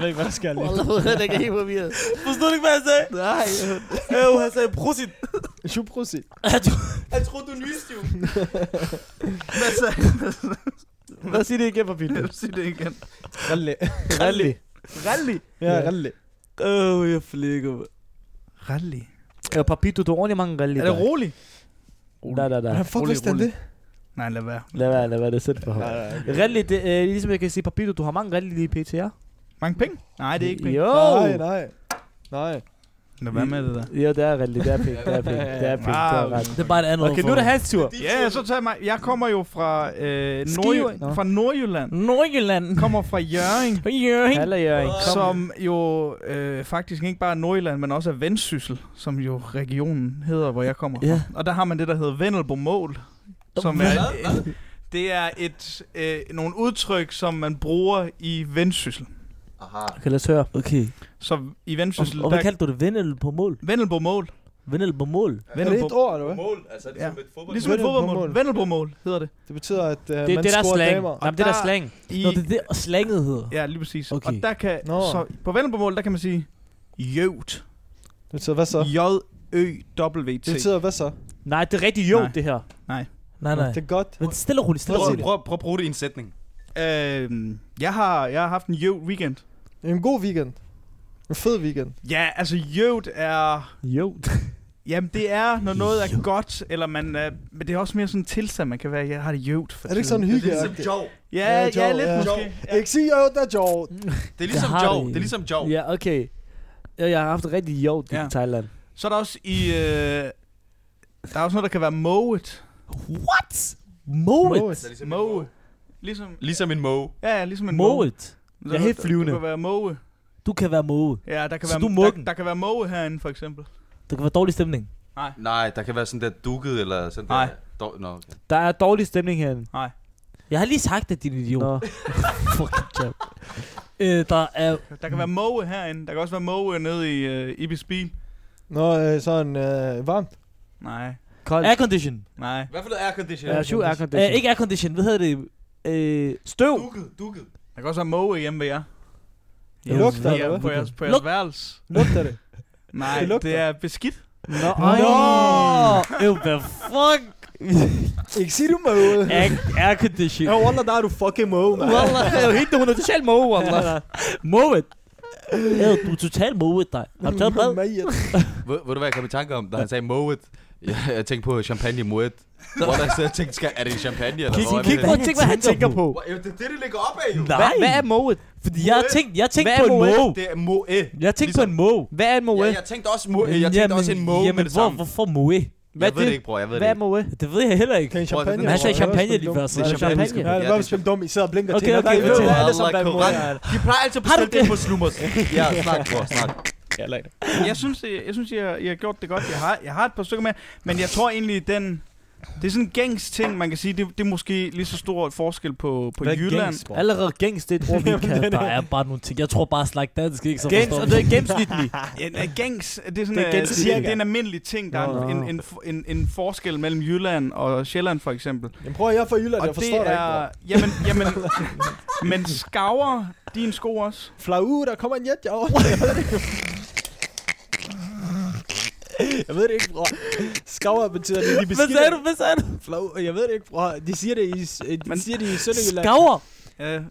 [SPEAKER 5] ved ikke, hvad der sker lige.
[SPEAKER 1] Han er helt forvirret.
[SPEAKER 2] Forstod du ikke, hvad jeg sagde?
[SPEAKER 1] Nej.
[SPEAKER 2] Jo, han sagde prosit.
[SPEAKER 5] Shuprosit.
[SPEAKER 3] Jeg troede, du nyste jo.
[SPEAKER 6] Hvad sagde han?
[SPEAKER 1] Lad os sige det igen, papir.
[SPEAKER 6] Sig det igen.
[SPEAKER 5] Rally.
[SPEAKER 1] Rally.
[SPEAKER 6] Rally.
[SPEAKER 5] Ja,
[SPEAKER 1] Ja.
[SPEAKER 5] rally.
[SPEAKER 2] Åh, oh, jeg flækker, mand.
[SPEAKER 6] Rally.
[SPEAKER 1] Ja, papir, Øh, du tog ordentligt mange rally.
[SPEAKER 6] Er det rolig?
[SPEAKER 1] Nej, nej, nej.
[SPEAKER 5] Hvordan fuck vidste han det?
[SPEAKER 6] Nej, lad være.
[SPEAKER 1] Lad være, lad være, det er sødt for ham.
[SPEAKER 5] Nej, nej, okay.
[SPEAKER 1] Rally, det, øh, ligesom jeg kan sige, papir, du har mange rally lige pt, ja?
[SPEAKER 6] Mange penge? Nej, det er ikke penge.
[SPEAKER 1] Jo.
[SPEAKER 5] Nej, nej. Nej.
[SPEAKER 6] Lad være med det der.
[SPEAKER 1] Jo, det er rally, det er penge, det er penge, det er penge, det er
[SPEAKER 6] Wow.
[SPEAKER 1] ret.
[SPEAKER 2] Det er bare et andet
[SPEAKER 1] Okay, nu er det hans tur.
[SPEAKER 6] Ja, så tager jeg mig. Jeg kommer jo fra, øh, Nordjy-
[SPEAKER 1] Nå.
[SPEAKER 6] fra Nordjylland.
[SPEAKER 2] Nordjylland.
[SPEAKER 6] Kommer fra Jøring,
[SPEAKER 2] Jørgen.
[SPEAKER 1] Hallo, Jørgen, kom.
[SPEAKER 6] som jo øh, faktisk ikke bare er Nordjylland, men også er Vendsyssel, som jo regionen hedder, hvor jeg kommer fra.
[SPEAKER 2] Ja.
[SPEAKER 6] Og der har man det, der hedder Vendelbo Mål, som er... Øh, det er et øh, nogle udtryk, som man bruger i Vendsyssel.
[SPEAKER 3] Aha.
[SPEAKER 1] Okay, lad os høre.
[SPEAKER 2] Okay.
[SPEAKER 6] Så i
[SPEAKER 2] Og,
[SPEAKER 6] Vendsyssel,
[SPEAKER 2] og hvad
[SPEAKER 6] der
[SPEAKER 2] kaldte du det? Vendel på mål?
[SPEAKER 6] Vendelbo Mål.
[SPEAKER 2] Vendel på mål.
[SPEAKER 5] Er det et ord, eller hvad?
[SPEAKER 3] Mål, altså det
[SPEAKER 6] ligesom
[SPEAKER 3] et fodbold.
[SPEAKER 6] Ligesom et
[SPEAKER 5] Vendelbomål.
[SPEAKER 6] fodboldmål. Vendelbomål hedder det.
[SPEAKER 5] Det betyder, at uh,
[SPEAKER 1] Det er det,
[SPEAKER 5] man
[SPEAKER 1] der er
[SPEAKER 5] scorer
[SPEAKER 1] slang.
[SPEAKER 5] damer.
[SPEAKER 1] Jamen, det er der
[SPEAKER 6] der-
[SPEAKER 1] slang.
[SPEAKER 6] I,
[SPEAKER 2] Nå, det er det, og slanget hedder.
[SPEAKER 6] Ja, lige præcis.
[SPEAKER 2] Okay.
[SPEAKER 6] Og der kan,
[SPEAKER 5] Nå.
[SPEAKER 6] så på Vendelbomål, der kan man sige jøvt.
[SPEAKER 5] Det betyder, hvad så?
[SPEAKER 6] J-Ø-W-T.
[SPEAKER 5] Det betyder, hvad så?
[SPEAKER 1] Nej, det er rigtig jo,
[SPEAKER 6] Nej.
[SPEAKER 1] det her.
[SPEAKER 2] Nej, nej.
[SPEAKER 5] Det er godt.
[SPEAKER 2] Men stille og roligt, stille og
[SPEAKER 5] Prøv
[SPEAKER 3] Prøv,
[SPEAKER 2] roligt.
[SPEAKER 5] at
[SPEAKER 3] prøv, prøv at bruge det i en sætning.
[SPEAKER 6] Øhm, jeg, har, jeg har haft en jøvt weekend.
[SPEAKER 5] En god weekend. En fed weekend.
[SPEAKER 6] Ja, altså jøvt er...
[SPEAKER 1] Jo.
[SPEAKER 6] Jamen det er, når noget er godt, eller man... Øh, men det er også mere sådan en tilstand, man kan være. Jeg har det jøvt for
[SPEAKER 5] Er ligesom det ikke
[SPEAKER 6] tiden.
[SPEAKER 5] sådan hyggeagtigt?
[SPEAKER 3] ligesom Joe.
[SPEAKER 6] Ja,
[SPEAKER 5] Ja,
[SPEAKER 6] ja,
[SPEAKER 5] Joe,
[SPEAKER 6] lidt
[SPEAKER 5] ja.
[SPEAKER 6] måske. Ja.
[SPEAKER 5] Ikke sige, jo, der er Joe.
[SPEAKER 3] Det er ligesom
[SPEAKER 2] har
[SPEAKER 3] Joe.
[SPEAKER 2] det.
[SPEAKER 3] Det er ligesom Joe.
[SPEAKER 1] Ja, okay. Ja, Jeg har haft det rigtig jo i
[SPEAKER 6] Ja.
[SPEAKER 1] Thailand.
[SPEAKER 6] Så er der også i... Øh, der er også noget, der kan være moet.
[SPEAKER 2] What? Moet?
[SPEAKER 3] Altså, ligesom en
[SPEAKER 6] Moe. Ligesom...
[SPEAKER 3] Ligesom en Moe.
[SPEAKER 6] Ja, ja, ligesom en moe.
[SPEAKER 2] Moet?
[SPEAKER 6] Så
[SPEAKER 1] Jeg er helt
[SPEAKER 6] der-
[SPEAKER 1] flyvende.
[SPEAKER 6] Der kan være moe.
[SPEAKER 2] Du kan være måge.
[SPEAKER 6] Ja, der kan,
[SPEAKER 2] Så
[SPEAKER 6] være,
[SPEAKER 2] du er muggen?
[SPEAKER 6] der, der kan være moe herinde, for eksempel.
[SPEAKER 2] Det kan være dårlig stemning.
[SPEAKER 3] Nej, der kan være sådan der dukket eller sådan
[SPEAKER 6] Nej.
[SPEAKER 3] der. Dår, no, okay.
[SPEAKER 1] Der er dårlig stemning herinde.
[SPEAKER 2] Jeg har lige sagt det, din idiot.
[SPEAKER 1] Nå.
[SPEAKER 2] Fucking job. øh, der er...
[SPEAKER 6] Der kan være moe herinde. Der kan også være moe nede i øh, Ibis bil.
[SPEAKER 5] Nå, øh, sådan øh, varmt.
[SPEAKER 6] Nej,
[SPEAKER 1] Koldt.
[SPEAKER 2] Aircondition.
[SPEAKER 6] nej.
[SPEAKER 3] Hvad for noget aircondition?
[SPEAKER 1] Ja, syv
[SPEAKER 2] Øh,
[SPEAKER 1] aircondition.
[SPEAKER 2] ikke aircondition. Hvad hedder det? Øh,
[SPEAKER 1] Støv.
[SPEAKER 3] Dukket, dukket.
[SPEAKER 6] Der kan også være moe hjemme ved jer.
[SPEAKER 5] Det lugter,
[SPEAKER 6] Ja,
[SPEAKER 5] eller hvad?
[SPEAKER 6] på jeres, på
[SPEAKER 2] Lug-
[SPEAKER 6] jeres værelse.
[SPEAKER 5] Lugter det?
[SPEAKER 6] Nej,
[SPEAKER 5] Det
[SPEAKER 6] det,
[SPEAKER 5] lugter.
[SPEAKER 6] det er beskidt.
[SPEAKER 1] Nå,
[SPEAKER 2] Nå!
[SPEAKER 1] ej.
[SPEAKER 2] Ew, hvad fuck?
[SPEAKER 5] Ikke sige, du må ud.
[SPEAKER 2] Air- Aircondition.
[SPEAKER 5] Ja, Wallah, der er du fucking måge, mand.
[SPEAKER 2] Wallah, jeg er jo helt...
[SPEAKER 1] Hun er totalt måge, wallah.
[SPEAKER 2] Moet. Ew, du er totalt moet dig. Har du taget bad?
[SPEAKER 5] Meget.
[SPEAKER 3] Ved, ved du hvad jeg kom i tanke om, da han sagde Moet? Jeg, jeg tænkte på champagne Moet. Hvor der sidder og tænkte, skal, er det champagne eller
[SPEAKER 2] Kig-
[SPEAKER 3] hvor er
[SPEAKER 2] kig
[SPEAKER 3] det?
[SPEAKER 2] på-
[SPEAKER 1] Prøv at tænke, hvad han tænker på.
[SPEAKER 3] Hvor- jamen, Det er det, det ligger op af jo.
[SPEAKER 1] Hvad,
[SPEAKER 2] Nej.
[SPEAKER 1] hvad er måget?
[SPEAKER 2] Fordi jeg tænkte, jeg tænkte
[SPEAKER 1] Hvad er
[SPEAKER 2] på en
[SPEAKER 1] Moet?
[SPEAKER 2] måge.
[SPEAKER 3] Det er Moe.
[SPEAKER 2] Jeg tænkte på en måge.
[SPEAKER 1] Hvad er en måge?
[SPEAKER 3] Ja, jeg tænkte også, Moe. jeg tænkte også en Moe
[SPEAKER 2] jamen,
[SPEAKER 3] med det
[SPEAKER 2] hvor,
[SPEAKER 3] samme.
[SPEAKER 2] hvorfor Moe?
[SPEAKER 1] Hvad
[SPEAKER 3] jeg
[SPEAKER 1] er
[SPEAKER 3] ved det
[SPEAKER 1] det?
[SPEAKER 3] ikke, bror. Jeg ved det
[SPEAKER 1] Hvad er
[SPEAKER 3] ikke.
[SPEAKER 1] måge?
[SPEAKER 2] Det ved jeg heller ikke.
[SPEAKER 5] Kan en
[SPEAKER 3] Prøv at-
[SPEAKER 5] champagne?
[SPEAKER 3] Men
[SPEAKER 2] han sagde
[SPEAKER 5] Det var også
[SPEAKER 2] champagne
[SPEAKER 5] lidt
[SPEAKER 2] lige
[SPEAKER 5] dumt.
[SPEAKER 2] før, så
[SPEAKER 1] Hvad er
[SPEAKER 2] det
[SPEAKER 1] det,
[SPEAKER 2] er champagne.
[SPEAKER 1] champagne?
[SPEAKER 5] Ja, det var vist dumme. I sidder og blinker
[SPEAKER 2] Okay,
[SPEAKER 5] til.
[SPEAKER 2] okay,
[SPEAKER 5] hinanden.
[SPEAKER 2] okay.
[SPEAKER 5] ved
[SPEAKER 3] Ja,
[SPEAKER 5] alle sammen,
[SPEAKER 3] Allah,
[SPEAKER 5] hvad en måde er.
[SPEAKER 3] korrekt. De plejer altid at
[SPEAKER 2] Har du
[SPEAKER 3] bestille det på slummers. Ja, snak, bror, snak.
[SPEAKER 6] Jeg synes, jeg, jeg synes, I har, I har gjort det godt. Jeg har, jeg har et par stykker med, men jeg tror egentlig, den... Det er sådan en gængs ting, man kan sige. Det, det er måske lige så stor forskel på, på
[SPEAKER 5] Hvad er
[SPEAKER 6] Jylland.
[SPEAKER 5] gangs, bror?
[SPEAKER 1] Allerede gængs, det er et ord, vi kan.
[SPEAKER 2] Der er bare nogle ting. Jeg tror bare, at snakke dansk, ikke? Så
[SPEAKER 1] Gængs,
[SPEAKER 2] forstår
[SPEAKER 1] og
[SPEAKER 2] man.
[SPEAKER 1] det er gennemsnitlig.
[SPEAKER 6] Ja, nej, gangs, det er sådan
[SPEAKER 1] Det er
[SPEAKER 6] øh,
[SPEAKER 1] gangs,
[SPEAKER 6] det, det,
[SPEAKER 1] cirka.
[SPEAKER 6] det er en almindelig ting. Der er en,
[SPEAKER 1] Nå.
[SPEAKER 6] en, en, en, en forskel mellem Jylland og Sjælland, for eksempel.
[SPEAKER 5] Jamen prøv at jeg er fra Jylland, jeg forstår dig ikke, bror.
[SPEAKER 6] Jamen, jamen, men skaver din sko også?
[SPEAKER 5] Flag ud, der kommer en jet, jeg er over. Jeg ved det ikke. Jeg ved det ikke, bror. Skaver betyder det, de
[SPEAKER 2] Hvad
[SPEAKER 5] beskidte.
[SPEAKER 2] sagde du? Hvad sagde du?
[SPEAKER 5] Flag, jeg ved det ikke, bror. De siger det i, øh, de
[SPEAKER 6] Men-
[SPEAKER 5] siger det i Sønderjylland.
[SPEAKER 2] Skaver.
[SPEAKER 6] Øh, skav,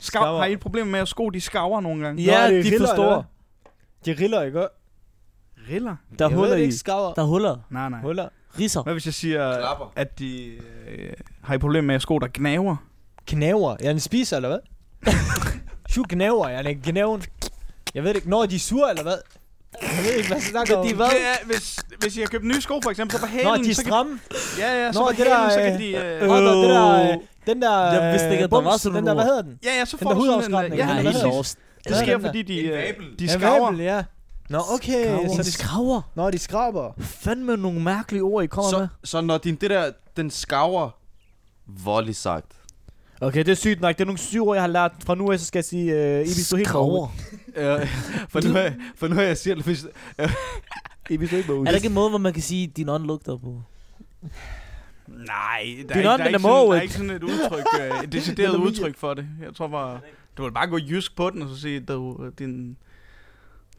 [SPEAKER 5] Skaver.
[SPEAKER 6] har I et problem med, at sko de skaver nogle gange?
[SPEAKER 1] Ja,
[SPEAKER 5] Nå, er det
[SPEAKER 1] de
[SPEAKER 5] riller,
[SPEAKER 1] forstår.
[SPEAKER 5] eller hvad? De riller, ikke?
[SPEAKER 6] Riller?
[SPEAKER 1] Der er
[SPEAKER 5] jeg ved
[SPEAKER 1] huller
[SPEAKER 5] det
[SPEAKER 1] i.
[SPEAKER 5] ikke, skaver.
[SPEAKER 2] Der er huller.
[SPEAKER 6] Nej, nej.
[SPEAKER 5] Huller.
[SPEAKER 2] Risser.
[SPEAKER 6] Hvad hvis jeg siger,
[SPEAKER 3] Klapper.
[SPEAKER 6] at de... Øh, har I et problem med, at sko der gnaver?
[SPEAKER 5] Knaver. Jeg er en spiser, eller hvad? Sju gnaver. Jeg er en gnaven. Jeg ved det ikke. Når de er sure, eller hvad? Jeg ved ikke, hvad jeg snakker om.
[SPEAKER 1] Fordi hvad?
[SPEAKER 6] Det er, hvis, hvis I har købt nye sko, for eksempel, så på hælen...
[SPEAKER 5] Når de er
[SPEAKER 6] så kan,
[SPEAKER 5] stramme.
[SPEAKER 6] ja, ja, så
[SPEAKER 5] Nå,
[SPEAKER 6] på
[SPEAKER 5] det
[SPEAKER 6] hælen,
[SPEAKER 5] der,
[SPEAKER 6] så
[SPEAKER 5] øh,
[SPEAKER 6] kan de... Øh,
[SPEAKER 5] Nå, der, det der, øh, den der...
[SPEAKER 2] Jeg vidste ikke, at der
[SPEAKER 5] øh,
[SPEAKER 2] var
[SPEAKER 5] bums,
[SPEAKER 2] sådan
[SPEAKER 5] Den
[SPEAKER 2] nogle
[SPEAKER 5] der, hvad
[SPEAKER 2] ord.
[SPEAKER 5] hedder den?
[SPEAKER 6] ja, ja, så
[SPEAKER 5] den
[SPEAKER 6] får
[SPEAKER 5] der
[SPEAKER 6] du sådan en...
[SPEAKER 5] hudafskrabning,
[SPEAKER 6] øh,
[SPEAKER 2] Jeg
[SPEAKER 6] Ja,
[SPEAKER 5] den
[SPEAKER 2] er
[SPEAKER 5] der hvad
[SPEAKER 6] ja,
[SPEAKER 2] helt
[SPEAKER 5] hedder
[SPEAKER 6] præcis.
[SPEAKER 2] lost.
[SPEAKER 6] Det
[SPEAKER 5] Hvad er
[SPEAKER 6] sker,
[SPEAKER 5] den der?
[SPEAKER 6] fordi de,
[SPEAKER 3] En
[SPEAKER 6] øh,
[SPEAKER 3] vabel.
[SPEAKER 6] de
[SPEAKER 5] Ja,
[SPEAKER 6] skaver.
[SPEAKER 5] vabel, ja. Nå, okay.
[SPEAKER 1] Skraver.
[SPEAKER 5] Så
[SPEAKER 2] Så
[SPEAKER 5] de
[SPEAKER 2] de skraver.
[SPEAKER 5] Nå, de skraber.
[SPEAKER 1] Fandme nogle mærkelige ord, I kommer
[SPEAKER 3] Så,
[SPEAKER 1] med.
[SPEAKER 3] så når din, det der, den skaver, voldeligt sagt.
[SPEAKER 1] Okay, det er sygt nok. Det er nogle syv ord, jeg har lært. Fra nu af, så skal jeg sige, øh, Ibis, du er helt måge.
[SPEAKER 2] Skraver.
[SPEAKER 3] Øh, for, nu, er- for nu er jeg siger det, hvis...
[SPEAKER 1] Ibis, du er ikke måge.
[SPEAKER 2] Er der ikke en måde, hvor man kan sige, at din ånd lugter på?
[SPEAKER 6] Nej, der er,
[SPEAKER 1] er
[SPEAKER 6] ikke, der,
[SPEAKER 1] not
[SPEAKER 6] er
[SPEAKER 1] in
[SPEAKER 6] ikke
[SPEAKER 1] the
[SPEAKER 6] sådan, der
[SPEAKER 1] mode.
[SPEAKER 6] er ikke sådan et udtryk, øh, et decideret udtryk for det. Jeg tror bare, du vil bare gå jysk på den, og så sige, du, øh, din,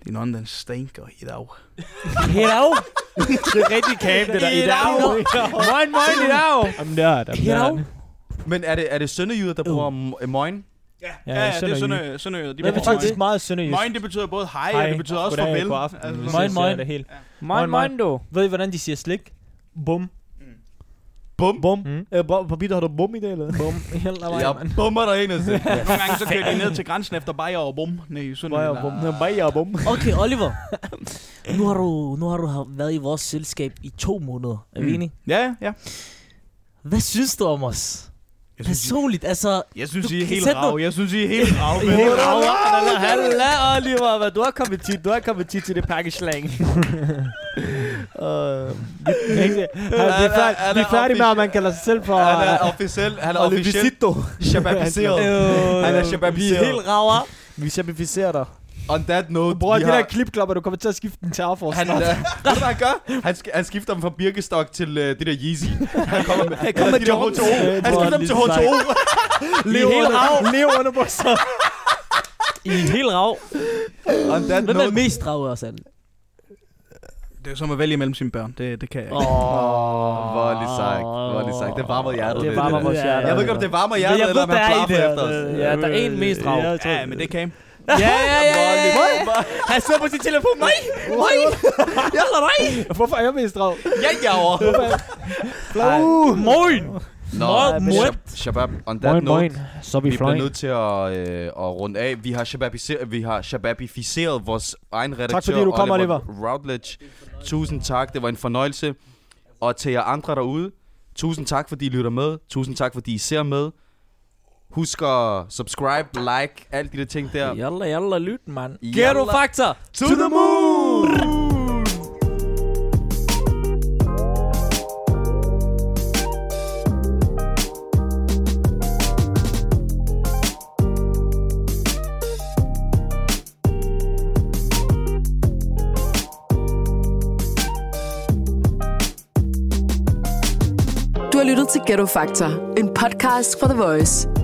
[SPEAKER 6] din ånd, den stinker i dag.
[SPEAKER 2] Hello?
[SPEAKER 1] Det er rigtig kæm, det der. I dag.
[SPEAKER 6] Moin, moin i dag!
[SPEAKER 1] I'm nerd, I'm
[SPEAKER 2] Hello?
[SPEAKER 1] nerd.
[SPEAKER 3] Men er det, er det sønderjyder, der
[SPEAKER 2] Øh.
[SPEAKER 3] bruger m- moin?
[SPEAKER 6] Ja,
[SPEAKER 1] Ja,
[SPEAKER 6] ja, ja, det er
[SPEAKER 1] sønderjyde.
[SPEAKER 6] sønderjyde. sønderjyde. De
[SPEAKER 2] Hvad
[SPEAKER 6] Hvad
[SPEAKER 5] Det er
[SPEAKER 2] betyder
[SPEAKER 6] betyder
[SPEAKER 5] faktisk meget sønderjysk.
[SPEAKER 6] Moin, det betyder både hej, og
[SPEAKER 8] Hej,
[SPEAKER 6] det betyder også
[SPEAKER 8] goddag,
[SPEAKER 6] farvel.
[SPEAKER 8] god aften.
[SPEAKER 6] Altså,
[SPEAKER 8] Vi
[SPEAKER 2] Moin,
[SPEAKER 8] ses,
[SPEAKER 2] moin.
[SPEAKER 8] ja, det er helt.
[SPEAKER 1] Moin, moin, du.
[SPEAKER 5] Ved I, hvordan de siger slik? Bum.
[SPEAKER 3] Bum.
[SPEAKER 1] Bum.
[SPEAKER 5] Mm.
[SPEAKER 1] Øh, bro, på bitter har du bum i dag, eller? Bum.
[SPEAKER 3] Jeg bummer dig ind altså. og siger.
[SPEAKER 6] nogle gange så kører de ned til grænsen efter bajer og bum. Nej, i
[SPEAKER 1] Bajer og
[SPEAKER 6] Sønderjylland.
[SPEAKER 1] bum. Nå, Bajer og bum.
[SPEAKER 2] Okay, Oliver. Nu har du, nu har du ha- været i vores selskab i to måneder. Er vi
[SPEAKER 6] Mm.
[SPEAKER 2] enige?
[SPEAKER 6] Ja, ja.
[SPEAKER 2] Hvad synes du om os?
[SPEAKER 6] Jeg synes, I-
[SPEAKER 2] Personligt, altså...
[SPEAKER 6] jeg synes,
[SPEAKER 2] Du
[SPEAKER 6] I er
[SPEAKER 2] kan
[SPEAKER 6] helt
[SPEAKER 2] sætte
[SPEAKER 6] rav.
[SPEAKER 2] noget-
[SPEAKER 6] Jeg synes, I er helt rav. men-
[SPEAKER 1] Halla, halla, Oliver. Hvad, du har kommet tit. Du har kommet tit til det pakkeslang. Øh, vi- vi er færdige- Vi er færdige med, at man kalder sig selv for...
[SPEAKER 3] Han
[SPEAKER 5] øh,
[SPEAKER 3] er officiel, han er
[SPEAKER 1] Og
[SPEAKER 3] officielt
[SPEAKER 1] Levisito.
[SPEAKER 3] shababiseret.
[SPEAKER 2] Øh,
[SPEAKER 3] Han er
[SPEAKER 2] vi er
[SPEAKER 3] shababiseret.
[SPEAKER 2] helt raver.
[SPEAKER 1] Vi simplificerer dig.
[SPEAKER 3] on that note,
[SPEAKER 7] Bror,
[SPEAKER 3] vi
[SPEAKER 7] de der
[SPEAKER 3] har...
[SPEAKER 7] klipklapper, du kommer til at skifte den til Arfors.
[SPEAKER 3] Han, øh, ved du, hvad han gør? Han, sk- han skifter dem fra Birkestok til øh, det der Yeezy. Han kommer med, han kommer med de der
[SPEAKER 2] Jordans.
[SPEAKER 3] H2O.
[SPEAKER 2] Ja,
[SPEAKER 3] Han
[SPEAKER 2] bror,
[SPEAKER 3] skifter dem
[SPEAKER 2] lige
[SPEAKER 3] til
[SPEAKER 2] så sagt.
[SPEAKER 3] H2O.
[SPEAKER 2] Lev under,
[SPEAKER 7] lev under bukser.
[SPEAKER 2] I er helt rav.
[SPEAKER 3] On that
[SPEAKER 2] Hvem er
[SPEAKER 3] note...
[SPEAKER 2] mest rav af os alle?
[SPEAKER 6] Det er jo som at vælge mellem sine børn. Det, det kan jeg ikke.
[SPEAKER 3] Åh, hvor er lige sagt. Hvor er lige sagt. Det varmer hjertet.
[SPEAKER 1] Det
[SPEAKER 3] lidt,
[SPEAKER 1] varmer
[SPEAKER 3] der.
[SPEAKER 1] vores
[SPEAKER 2] Ja,
[SPEAKER 1] hjerter.
[SPEAKER 3] Jeg ved ikke, om det varmer hjertet,
[SPEAKER 2] jeg
[SPEAKER 3] eller
[SPEAKER 2] ved,
[SPEAKER 3] om han
[SPEAKER 2] der er
[SPEAKER 3] klarer
[SPEAKER 2] i det,
[SPEAKER 3] efter os.
[SPEAKER 2] øh, Ja, der er en mest rav.
[SPEAKER 1] Ja, jeg tror-
[SPEAKER 6] Ja, men det kan jeg.
[SPEAKER 2] Ja, ja, ja, ja, ja, ja. Han sidder på sin telefon. Nej, nej. Jeg er nej.
[SPEAKER 7] Hvorfor er jeg mest drag?
[SPEAKER 3] Ja, ja, over.
[SPEAKER 2] Moin.
[SPEAKER 3] Nå,
[SPEAKER 2] Meget
[SPEAKER 3] Shab-
[SPEAKER 2] mødt.
[SPEAKER 3] Shabab, on that
[SPEAKER 1] Moin,
[SPEAKER 3] note,
[SPEAKER 1] moin. Så er
[SPEAKER 3] vi
[SPEAKER 1] vi
[SPEAKER 3] bliver
[SPEAKER 1] fløjen.
[SPEAKER 3] nødt til at, øh, at runde af. Vi har shababificeret, vi har shababificeret vores egen redaktør,
[SPEAKER 7] fordi du kom,
[SPEAKER 3] Oliver Routledge. Tusind tak, det var en fornøjelse. Og til jer andre derude, tusind tak, fordi I lytter med. Tusind tak, fordi I ser med. Husk at subscribe, like, alle de der ting der.
[SPEAKER 2] Jalla, jalla, lyt, mand.
[SPEAKER 3] Jalla.
[SPEAKER 2] Ghetto Factor.
[SPEAKER 3] To the moon!
[SPEAKER 4] Du har lyttet til Ghetto Factor, en podcast fra The Voice.